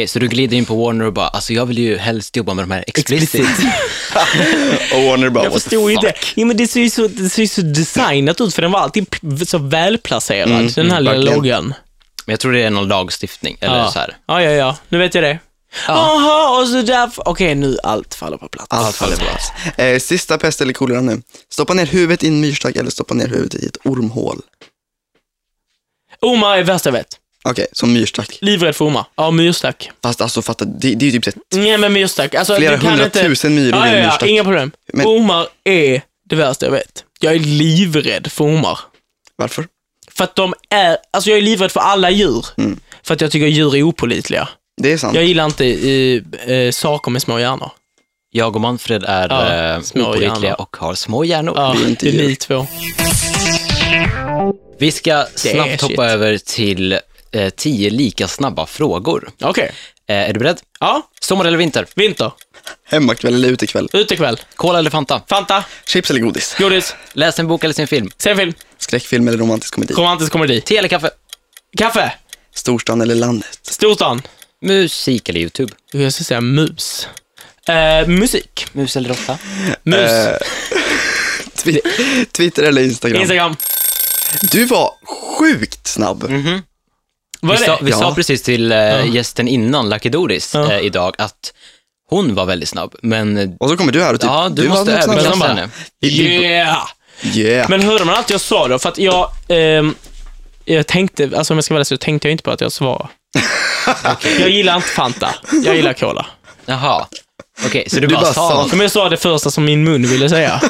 Speaker 2: så du glider in på Warner och bara, alltså jag vill ju helst jobba med de här explicit.
Speaker 3: Och Warner bara,
Speaker 1: Jag
Speaker 3: what the
Speaker 1: förstod ju
Speaker 3: fuck?
Speaker 1: det. Ja, men det ser ju så, det ser ju så designat ut för den var alltid p- så välplacerad, den här lilla
Speaker 3: Mm, verkligen.
Speaker 1: loggan.
Speaker 2: Men jag tror det är någon lagstiftning, eller
Speaker 1: Ja.
Speaker 2: så här.
Speaker 1: ja, ja, ja. Nu vet jag det. Jaha, och så därför... Okej, nu allt faller på plats.
Speaker 3: Allt faller på plats. Eh, sista pest eller kolera nu. Stoppa ner huvudet i en myrstack eller stoppa ner huvudet i ett ormhål.
Speaker 1: Oma är värsta jag vet.
Speaker 3: Okej, som myrstack.
Speaker 1: Livrädd för Oma. Ja, myrstack.
Speaker 3: Fast alltså fatta, det, det är ju typ så här
Speaker 1: Nej, men myrstack. Alltså,
Speaker 3: flera
Speaker 1: du kan inte...
Speaker 3: hundratusen myror
Speaker 1: Ja,
Speaker 3: i en
Speaker 1: ja, ja,
Speaker 3: myrstack.
Speaker 1: inga problem.
Speaker 3: Men-
Speaker 1: Omar är det värsta jag vet. Jag är livrädd för Omar.
Speaker 3: Varför?
Speaker 1: För att de är, alltså jag är livrädd för alla djur.
Speaker 3: Mm.
Speaker 1: För att jag tycker djur är opolitliga.
Speaker 3: Det är sant.
Speaker 1: Jag gillar inte eh, eh, saker med små hjärnor.
Speaker 2: Jag och Manfred är
Speaker 1: Ja,
Speaker 2: eh,
Speaker 1: små
Speaker 2: opålitliga
Speaker 1: hjärnor.
Speaker 2: och har små hjärnor.
Speaker 1: Ja,
Speaker 3: Det är inte
Speaker 1: det är
Speaker 3: djur.
Speaker 1: ni två.
Speaker 2: Vi ska
Speaker 1: Det är
Speaker 2: snabbt
Speaker 1: shit.
Speaker 2: hoppa över till eh, tio lika snabba frågor.
Speaker 1: Okej.
Speaker 2: Eh, är du beredd?
Speaker 1: Ja,
Speaker 2: Sommar eller vinter?
Speaker 1: vinter.
Speaker 3: Hemmakväll eller utekväll?
Speaker 1: Utekväll.
Speaker 2: Cola eller Fanta?
Speaker 1: Fanta.
Speaker 3: Chips eller godis?
Speaker 1: Godis.
Speaker 2: Läs en bok eller se en film?
Speaker 1: Se en film.
Speaker 3: Skräckfilm eller romantisk komedi?
Speaker 1: Romantisk komedi.
Speaker 2: Te eller kaffe?
Speaker 1: Kaffe.
Speaker 3: Storstan eller landet?
Speaker 1: Storstan.
Speaker 2: Musik eller YouTube?
Speaker 1: Jag ska säga mus. Eh, musik.
Speaker 2: Mus eller råtta?
Speaker 1: Mus.
Speaker 3: Eh, Twi- Twitter eller Instagram?
Speaker 1: Instagram.
Speaker 3: Du var sjukt snabb.
Speaker 1: Mhm. Vad
Speaker 2: vi
Speaker 1: är
Speaker 2: sa,
Speaker 1: det?
Speaker 2: vi sa
Speaker 3: Ja.
Speaker 2: precis till eh, gästen innan, Lucky Doris,
Speaker 1: Ja.
Speaker 2: eh, idag, att hon var väldigt snabb, men eh,
Speaker 3: Och så kommer du här och typ,
Speaker 2: ja, du, måste
Speaker 3: var nog snabbast.
Speaker 2: överklassa
Speaker 1: snabb.
Speaker 2: henne.
Speaker 1: Yeah!
Speaker 3: Yeah.
Speaker 1: Men hörde man allt jag sa då? För att jag, ehm, jag tänkte, alltså om jag ska vara ärlig så tänkte jag inte på att jag svarade. Jag gillar inte Fanta. Jag gillar Cola.
Speaker 2: Jaha. Okej, så du,
Speaker 3: Du
Speaker 2: bara,
Speaker 3: bara sa
Speaker 2: sa något.
Speaker 1: Men jag sa det första som min mun ville säga.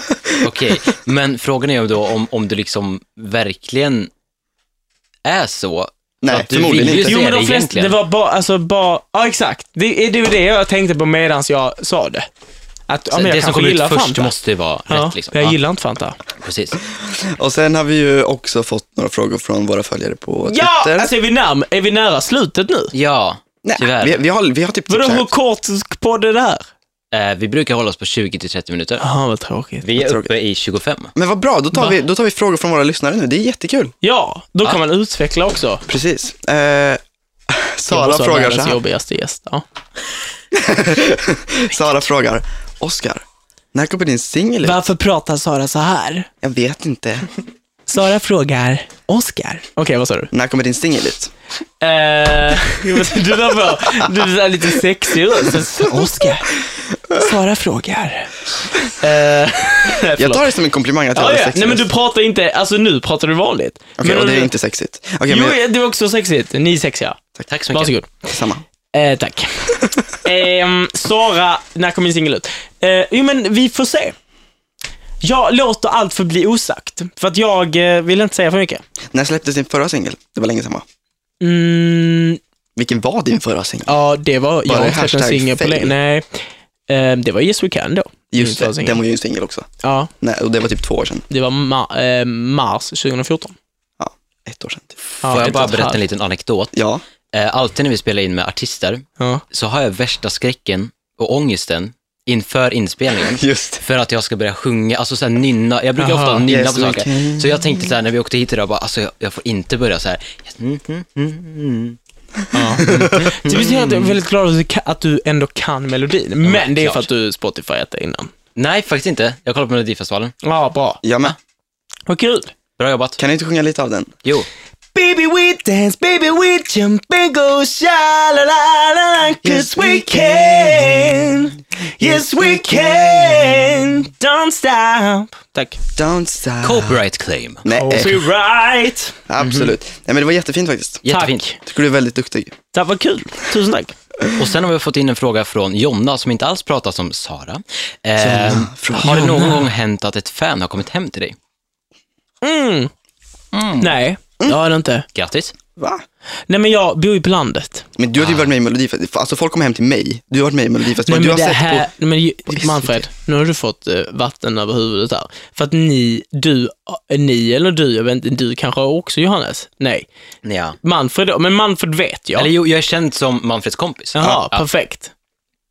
Speaker 2: Okej, men frågan är ju då om, om du liksom verkligen är så. För
Speaker 3: Nej,
Speaker 2: att du
Speaker 3: förmodligen
Speaker 2: vill ju
Speaker 3: inte.
Speaker 2: se
Speaker 1: Jo, men
Speaker 2: det
Speaker 1: de flesta,
Speaker 2: egentligen.
Speaker 1: det var bara, alltså bara, ja exakt. Det är det, är det jag tänkte på medans jag sa det. Att, ja, men jag
Speaker 2: det som
Speaker 1: kanske
Speaker 2: kommer ut
Speaker 1: gillar
Speaker 2: först
Speaker 1: Fanta.
Speaker 2: måste ju vara
Speaker 1: ja,
Speaker 2: rätt. Liksom.
Speaker 1: för jag gillar inte Fanta.
Speaker 2: ja, precis.
Speaker 3: Och sen har vi ju också fått några frågor från våra följare på
Speaker 1: Ja!
Speaker 3: Twitter.
Speaker 1: Alltså är vi, nära, är vi nära slutet nu?
Speaker 2: Ja,
Speaker 3: Nej,
Speaker 2: tyvärr.
Speaker 3: Vi,
Speaker 2: Vi...
Speaker 3: vi, har, vi har typ...
Speaker 1: Vadå,
Speaker 3: typ så här-
Speaker 1: hur kort på det där?
Speaker 2: Eh, vi brukar hålla oss på 20-30 minuter.
Speaker 1: Jaha, vad tråkigt.
Speaker 2: Vi är
Speaker 3: tråkigt.
Speaker 2: uppe i 25.
Speaker 3: Men vad bra, då tar, vi, då tar vi frågor från våra lyssnare nu. Det är jättekul.
Speaker 1: Ja, då kan man utveckla också.
Speaker 3: Precis. Eh, [LAUGHS] Sara
Speaker 1: Jag var
Speaker 3: frågar så
Speaker 1: världens
Speaker 3: här.
Speaker 1: jobbigaste gäst. Ja.
Speaker 3: Sara frågar, Oscar, när kommer din singel ut?
Speaker 1: Varför pratar Sara så här?
Speaker 3: Jag vet inte.
Speaker 1: Sara frågar Oscar. Okej, vad sa du?
Speaker 3: När kommer din singel ut?
Speaker 1: Eh, [LAUGHS] du där var, du där lite sexig röst. Oscar. Sara frågar. Eh,
Speaker 3: Jag
Speaker 1: förlåt.
Speaker 3: tar det som en komplimang att jag
Speaker 1: ja,
Speaker 3: är
Speaker 1: ja.
Speaker 3: sexig.
Speaker 1: Nej men du pratar inte, alltså nu pratar du vanligt.
Speaker 3: Okej,
Speaker 1: Men
Speaker 3: och det
Speaker 1: du-
Speaker 3: är inte sexigt. Okej,
Speaker 1: Jo,
Speaker 3: men
Speaker 1: det är också sexigt. Ni är sexiga.
Speaker 2: Tack så mycket.
Speaker 1: Varsågod.
Speaker 3: samma.
Speaker 1: Eh, tack. Ehm, Sara, när kommer min singel ut? Eh, jo, men vi får se. Jag låter allt förbli osagt, för att jag eh, vill inte säga för mycket.
Speaker 3: När släpptes din förra singel? Det var länge sedan va?
Speaker 1: Mm,
Speaker 3: Vilken var din förra singel?
Speaker 1: ja, det var... jag
Speaker 3: det
Speaker 1: har inte släppt en
Speaker 3: hashtag
Speaker 1: singel på
Speaker 3: fail?
Speaker 1: länge. Nej. Ehm, det var Yes We Can då. Min
Speaker 3: Just
Speaker 1: förra
Speaker 3: det,
Speaker 1: singel.
Speaker 3: den var ju en singel också.
Speaker 1: Ja,
Speaker 3: Nej, och det var typ två år sedan.
Speaker 1: det var ma- eh, mars 2014.
Speaker 3: Ja, ett år sedan typ.
Speaker 1: Ja,
Speaker 2: Får
Speaker 1: ett
Speaker 2: jag
Speaker 1: och
Speaker 2: bara
Speaker 1: ett
Speaker 2: berätta en
Speaker 1: halvt.
Speaker 2: liten anekdot?
Speaker 3: Ja,
Speaker 2: Eh, alltid när vi spelar in med artister
Speaker 1: Ja.
Speaker 2: så har jag värsta skräcken och ångesten inför inspelningen.
Speaker 3: just
Speaker 2: För att jag ska börja sjunga, alltså såhär nynna, jag brukar
Speaker 1: Aha.
Speaker 2: ofta nynna
Speaker 3: Yes,
Speaker 2: på saker.
Speaker 3: okay.
Speaker 2: Så jag tänkte såhär när vi åkte hit idag, bara, alltså jag, jag får inte börja Mm. såhär.
Speaker 1: Ja. Det betyder att jag är väldigt glad att du ka- att du ändå kan melodin, men det är
Speaker 2: klart.
Speaker 1: för att du Spotifyat det innan.
Speaker 2: Nej, faktiskt inte. Jag kollar på Melodifestivalen.
Speaker 1: Ja, bra.
Speaker 3: Jag med.
Speaker 1: Vad kul.
Speaker 2: Bra jobbat.
Speaker 3: Kan du inte sjunga lite av den?
Speaker 2: Jo.
Speaker 1: Baby we dance, baby we jump and go sha la la la la, cause we can. Yes we can, don't stop. Tack.
Speaker 3: Don't stop.
Speaker 2: Copyright claim.
Speaker 3: Nej, eh,
Speaker 1: Copyright.
Speaker 3: absolut.
Speaker 1: Mhm.
Speaker 3: Nej, men det var jättefint faktiskt.
Speaker 2: Jättefint.
Speaker 1: Tack.
Speaker 3: Jag tycker du är väldigt duktig.
Speaker 1: Tack, vad kul. Tusen tack.
Speaker 2: Och sen har vi fått in en fråga från Jonna som inte alls pratar som Sara. Eh,
Speaker 3: från
Speaker 2: har det någon
Speaker 1: Jonna.
Speaker 2: gång hänt att ett fan har kommit hem till dig?
Speaker 1: Mm. Nej,
Speaker 3: Mm.
Speaker 1: det har det inte.
Speaker 2: Grattis.
Speaker 3: Va?
Speaker 1: Nej, men jag bor ju på landet.
Speaker 3: Men du hade ju varit med i Melodifestivalen. Alltså folk kommer hem till mig. Du har varit med i
Speaker 1: Ah. Nej,
Speaker 3: Melodifestivalen. Du
Speaker 1: men
Speaker 3: har
Speaker 1: det
Speaker 3: sett
Speaker 1: här,
Speaker 3: på...
Speaker 1: nej, men, ju-
Speaker 3: på SVT.
Speaker 1: Manfred, nu har du fått eh, vatten över huvudet här. För att ni, du, eh, ni eller du, jag vet inte, du kanske också Johannes? Nej.
Speaker 2: Ja.
Speaker 1: Manfred, men Manfred vet jag.
Speaker 2: Eller jo, jag är känd som Manfreds kompis.
Speaker 1: Jaha,
Speaker 2: Ja.
Speaker 1: perfekt.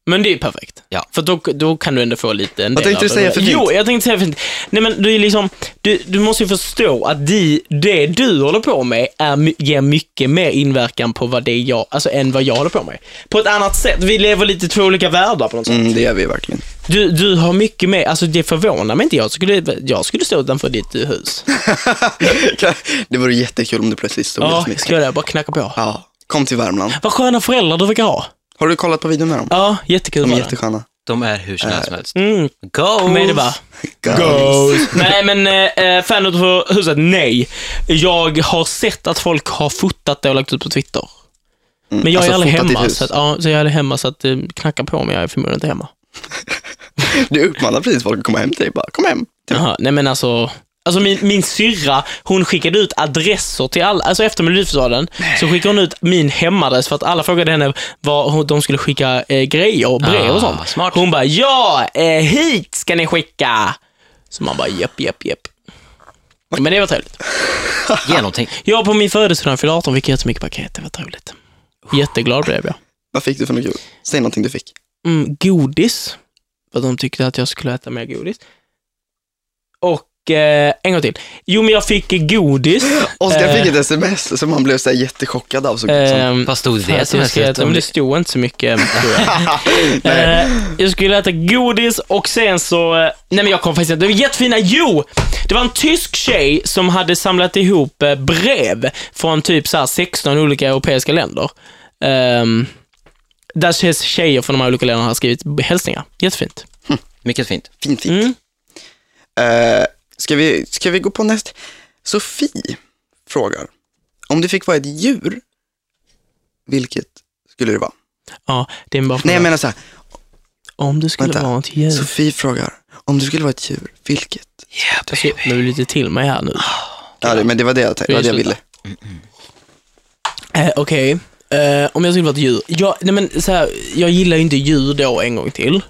Speaker 1: Men det är ju perfekt.
Speaker 2: Ja.
Speaker 1: För då, då kan du ändå få lite en
Speaker 3: Vad tänkte
Speaker 1: av
Speaker 3: du säga för fint?
Speaker 1: Jo, jag tänkte säga för fint. Nej men du är liksom, du, du måste ju förstå att de, det du håller på med är, my- ger mycket mer inverkan på vad det är jag, alltså än vad jag håller på med. På ett annat sätt, vi lever lite i två olika världar på något sätt.
Speaker 3: Mm, det gör vi verkligen. [LAUGHS]
Speaker 1: Du, du har mycket mer, alltså det förvånar mig inte. Jag skulle, jag skulle stå utanför ditt eh, hus.
Speaker 3: det vore jättekul om du plötsligt stod
Speaker 1: Ja,
Speaker 3: Will Smith.
Speaker 1: skulle jag bara knacka på.
Speaker 3: Ja, kom till Värmland.
Speaker 1: Vad sköna föräldrar du verkar ha.
Speaker 3: Har du kollat på videon med dem?
Speaker 1: Ja, jättekul
Speaker 3: De är
Speaker 1: var det.
Speaker 3: jättesköna.
Speaker 2: De är hur snälla som helst.
Speaker 1: Mm,
Speaker 2: Goals!
Speaker 1: med det bara. [LAUGHS] nej men, eh, eh, fan utanför huset, nej. Jag har sett att folk har fotat det och lagt ut på Twitter.
Speaker 3: Mm,
Speaker 1: Men jag är aldrig
Speaker 3: fotat ditt
Speaker 1: hemma,
Speaker 3: hus.
Speaker 1: så att, ja, så jag är aldrig hemma, så att eh, knacka på mig, jag är förmodligen inte hemma.
Speaker 3: Du uppmanar precis folk att komma hem till dig. Bara, kom hem. Typ,
Speaker 1: Jaha, nej men alltså. Alltså min, min syrra, hon skickade ut adresser till alla, alltså efter Melodifestivalen, så skickade hon ut min hemadress för att alla frågade henne vad hon- de skulle skicka eh, grejer och brev och
Speaker 2: Ah,
Speaker 1: sånt.
Speaker 2: smart.
Speaker 1: Hon bara, ja, eh, hit ska ni skicka. Så man bara, japp, japp, japp. Men det var trevligt.
Speaker 2: Genomtänkt.
Speaker 1: Jag på min födelsedag när jag fyllde 18 fick jättemycket paket, det var trevligt. Jätteglad blev jag.
Speaker 3: Vad fick du för något kul? Säg någonting du fick.
Speaker 1: Mm, godis, för att de tyckte att jag skulle äta mer godis. Och eh, en gång till. Jo, men jag fick godis.
Speaker 3: Oskar
Speaker 1: Eh.
Speaker 3: fick ett sms som han blev så här jättechockad av. Så
Speaker 1: Ehm,
Speaker 2: Vad stod
Speaker 1: fan,
Speaker 2: det som
Speaker 1: jag
Speaker 2: helst?
Speaker 1: ska äta, men det stod inte så mycket. tror jag.
Speaker 3: Nej.
Speaker 1: Eh, jag skulle äta godis och sen så... eh, Nej men jag kom faktiskt inte... Det var jättefina... Jo! Det var en tysk tjej som hade samlat ihop eh, brev från typ så här 16 olika europeiska länder. Ehm, där tjej- tjejer från de här olika länderna har skrivit hälsningar. Jättefint.
Speaker 2: Mycket fint.
Speaker 3: Fint, fint.
Speaker 1: Mm.
Speaker 3: Eh, ska, vi, ska vi gå på näst? Sofie frågar, om du fick vara ett djur, vilket skulle det vara?
Speaker 1: Ja, det är bara
Speaker 3: Nej,
Speaker 1: fråga.
Speaker 3: jag menar så här,
Speaker 1: Om du skulle
Speaker 3: vänta.
Speaker 1: vara ett djur...
Speaker 3: Sofie frågar, om du skulle vara ett djur, vilket?
Speaker 1: Så... Nu lite till mig här nu.
Speaker 3: Ja, det, men det var det jag, tänkte, det var det jag ville.
Speaker 1: Eh, Okej, eh, om jag skulle vara ett djur. Jag, nej men, så här, jag gillar ju inte djur då en gång till,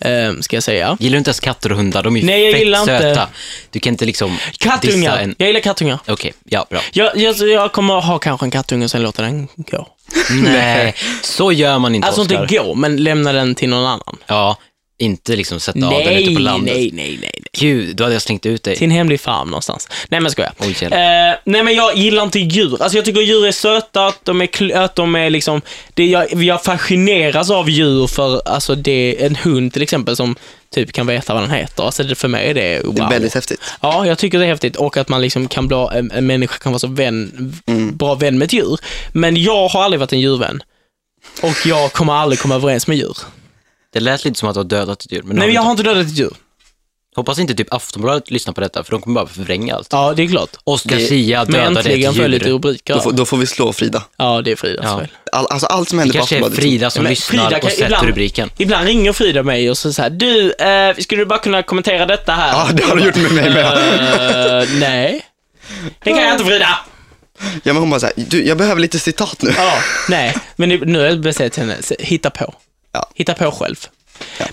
Speaker 1: eh, ska jag säga.
Speaker 2: Gillar du inte ens katter och hundar? De är ju
Speaker 1: Nej, jag
Speaker 2: fett
Speaker 1: gillar inte.
Speaker 2: söta. Du kan inte liksom dissa
Speaker 1: Kattungar!
Speaker 2: en...
Speaker 1: Jag gillar kattungar.
Speaker 2: Okej, ja,
Speaker 1: [LAUGHS]
Speaker 2: bra.
Speaker 1: Jag, jag, jag kommer ha kanske en kattunge och sen låta den gå.
Speaker 2: Nej, så gör man inte,
Speaker 1: Alltså
Speaker 2: Oscar.
Speaker 1: inte gå, men lämna den till någon annan.
Speaker 2: Ja, inte liksom sätta av den
Speaker 1: nej,
Speaker 2: ute på
Speaker 1: nej,
Speaker 2: landet.
Speaker 1: nej, nej, nej.
Speaker 2: Gud, då hade jag slängt ut dig.
Speaker 1: Till en hemlig farm någonstans. Nej men skojar.
Speaker 2: Oj, jävlar.
Speaker 1: eh, nej men jag gillar inte djur. Alltså jag tycker djur är söta, att de är, kl- att de är liksom, det, jag, jag fascineras av djur för, alltså det, en hund till exempel som typ kan veta vad den heter. Alltså det, för mig är det, wow.
Speaker 3: Det är väldigt häftigt.
Speaker 1: Ja, jag tycker det är häftigt och att man liksom kan bli, en, en människa kan vara så vän, bra vän med ett djur. Men jag har aldrig varit en djurvän. Och jag kommer aldrig komma överens med djur.
Speaker 2: Det lät lite som att du har dödat ett djur. Men det
Speaker 1: Nej, men jag
Speaker 2: du
Speaker 1: har
Speaker 2: inte.
Speaker 1: inte dödat ett djur.
Speaker 2: Hoppas inte typ Aftonbladet lyssnar på detta, för de kommer bara förvränga allt.
Speaker 1: Ja, det är klart.
Speaker 2: Oscar
Speaker 3: Det-
Speaker 2: Zia
Speaker 1: Men
Speaker 2: dödade
Speaker 1: äntligen
Speaker 2: ett
Speaker 1: får jag lite
Speaker 2: djur.
Speaker 1: rubriker.
Speaker 3: Då, får, då får vi slå Frida.
Speaker 1: Ja, det är Fridas
Speaker 2: Ja.
Speaker 1: fel.
Speaker 3: All, alltså allt som händer liksom- på
Speaker 2: Kanske är liksom-
Speaker 3: Aftonbladet.
Speaker 2: Frida som
Speaker 1: Men
Speaker 2: lyssnar
Speaker 1: Frida kan
Speaker 2: och sätter
Speaker 1: ibland-
Speaker 2: rubriken.
Speaker 1: Ibland ringer Frida mig och så säger du, eh, skulle du bara kunna kommentera detta här?
Speaker 3: Ja, det har du gjort med mig med.
Speaker 1: Eh, nej. Det kan jag inte Frida!
Speaker 3: Ja, men hon bara så här, du, jag behöver lite citat nu.
Speaker 1: Ja, nej. Men nu- nu har jag bestämt till henne, så hitta på.
Speaker 3: Ja.
Speaker 1: Hitta på själv.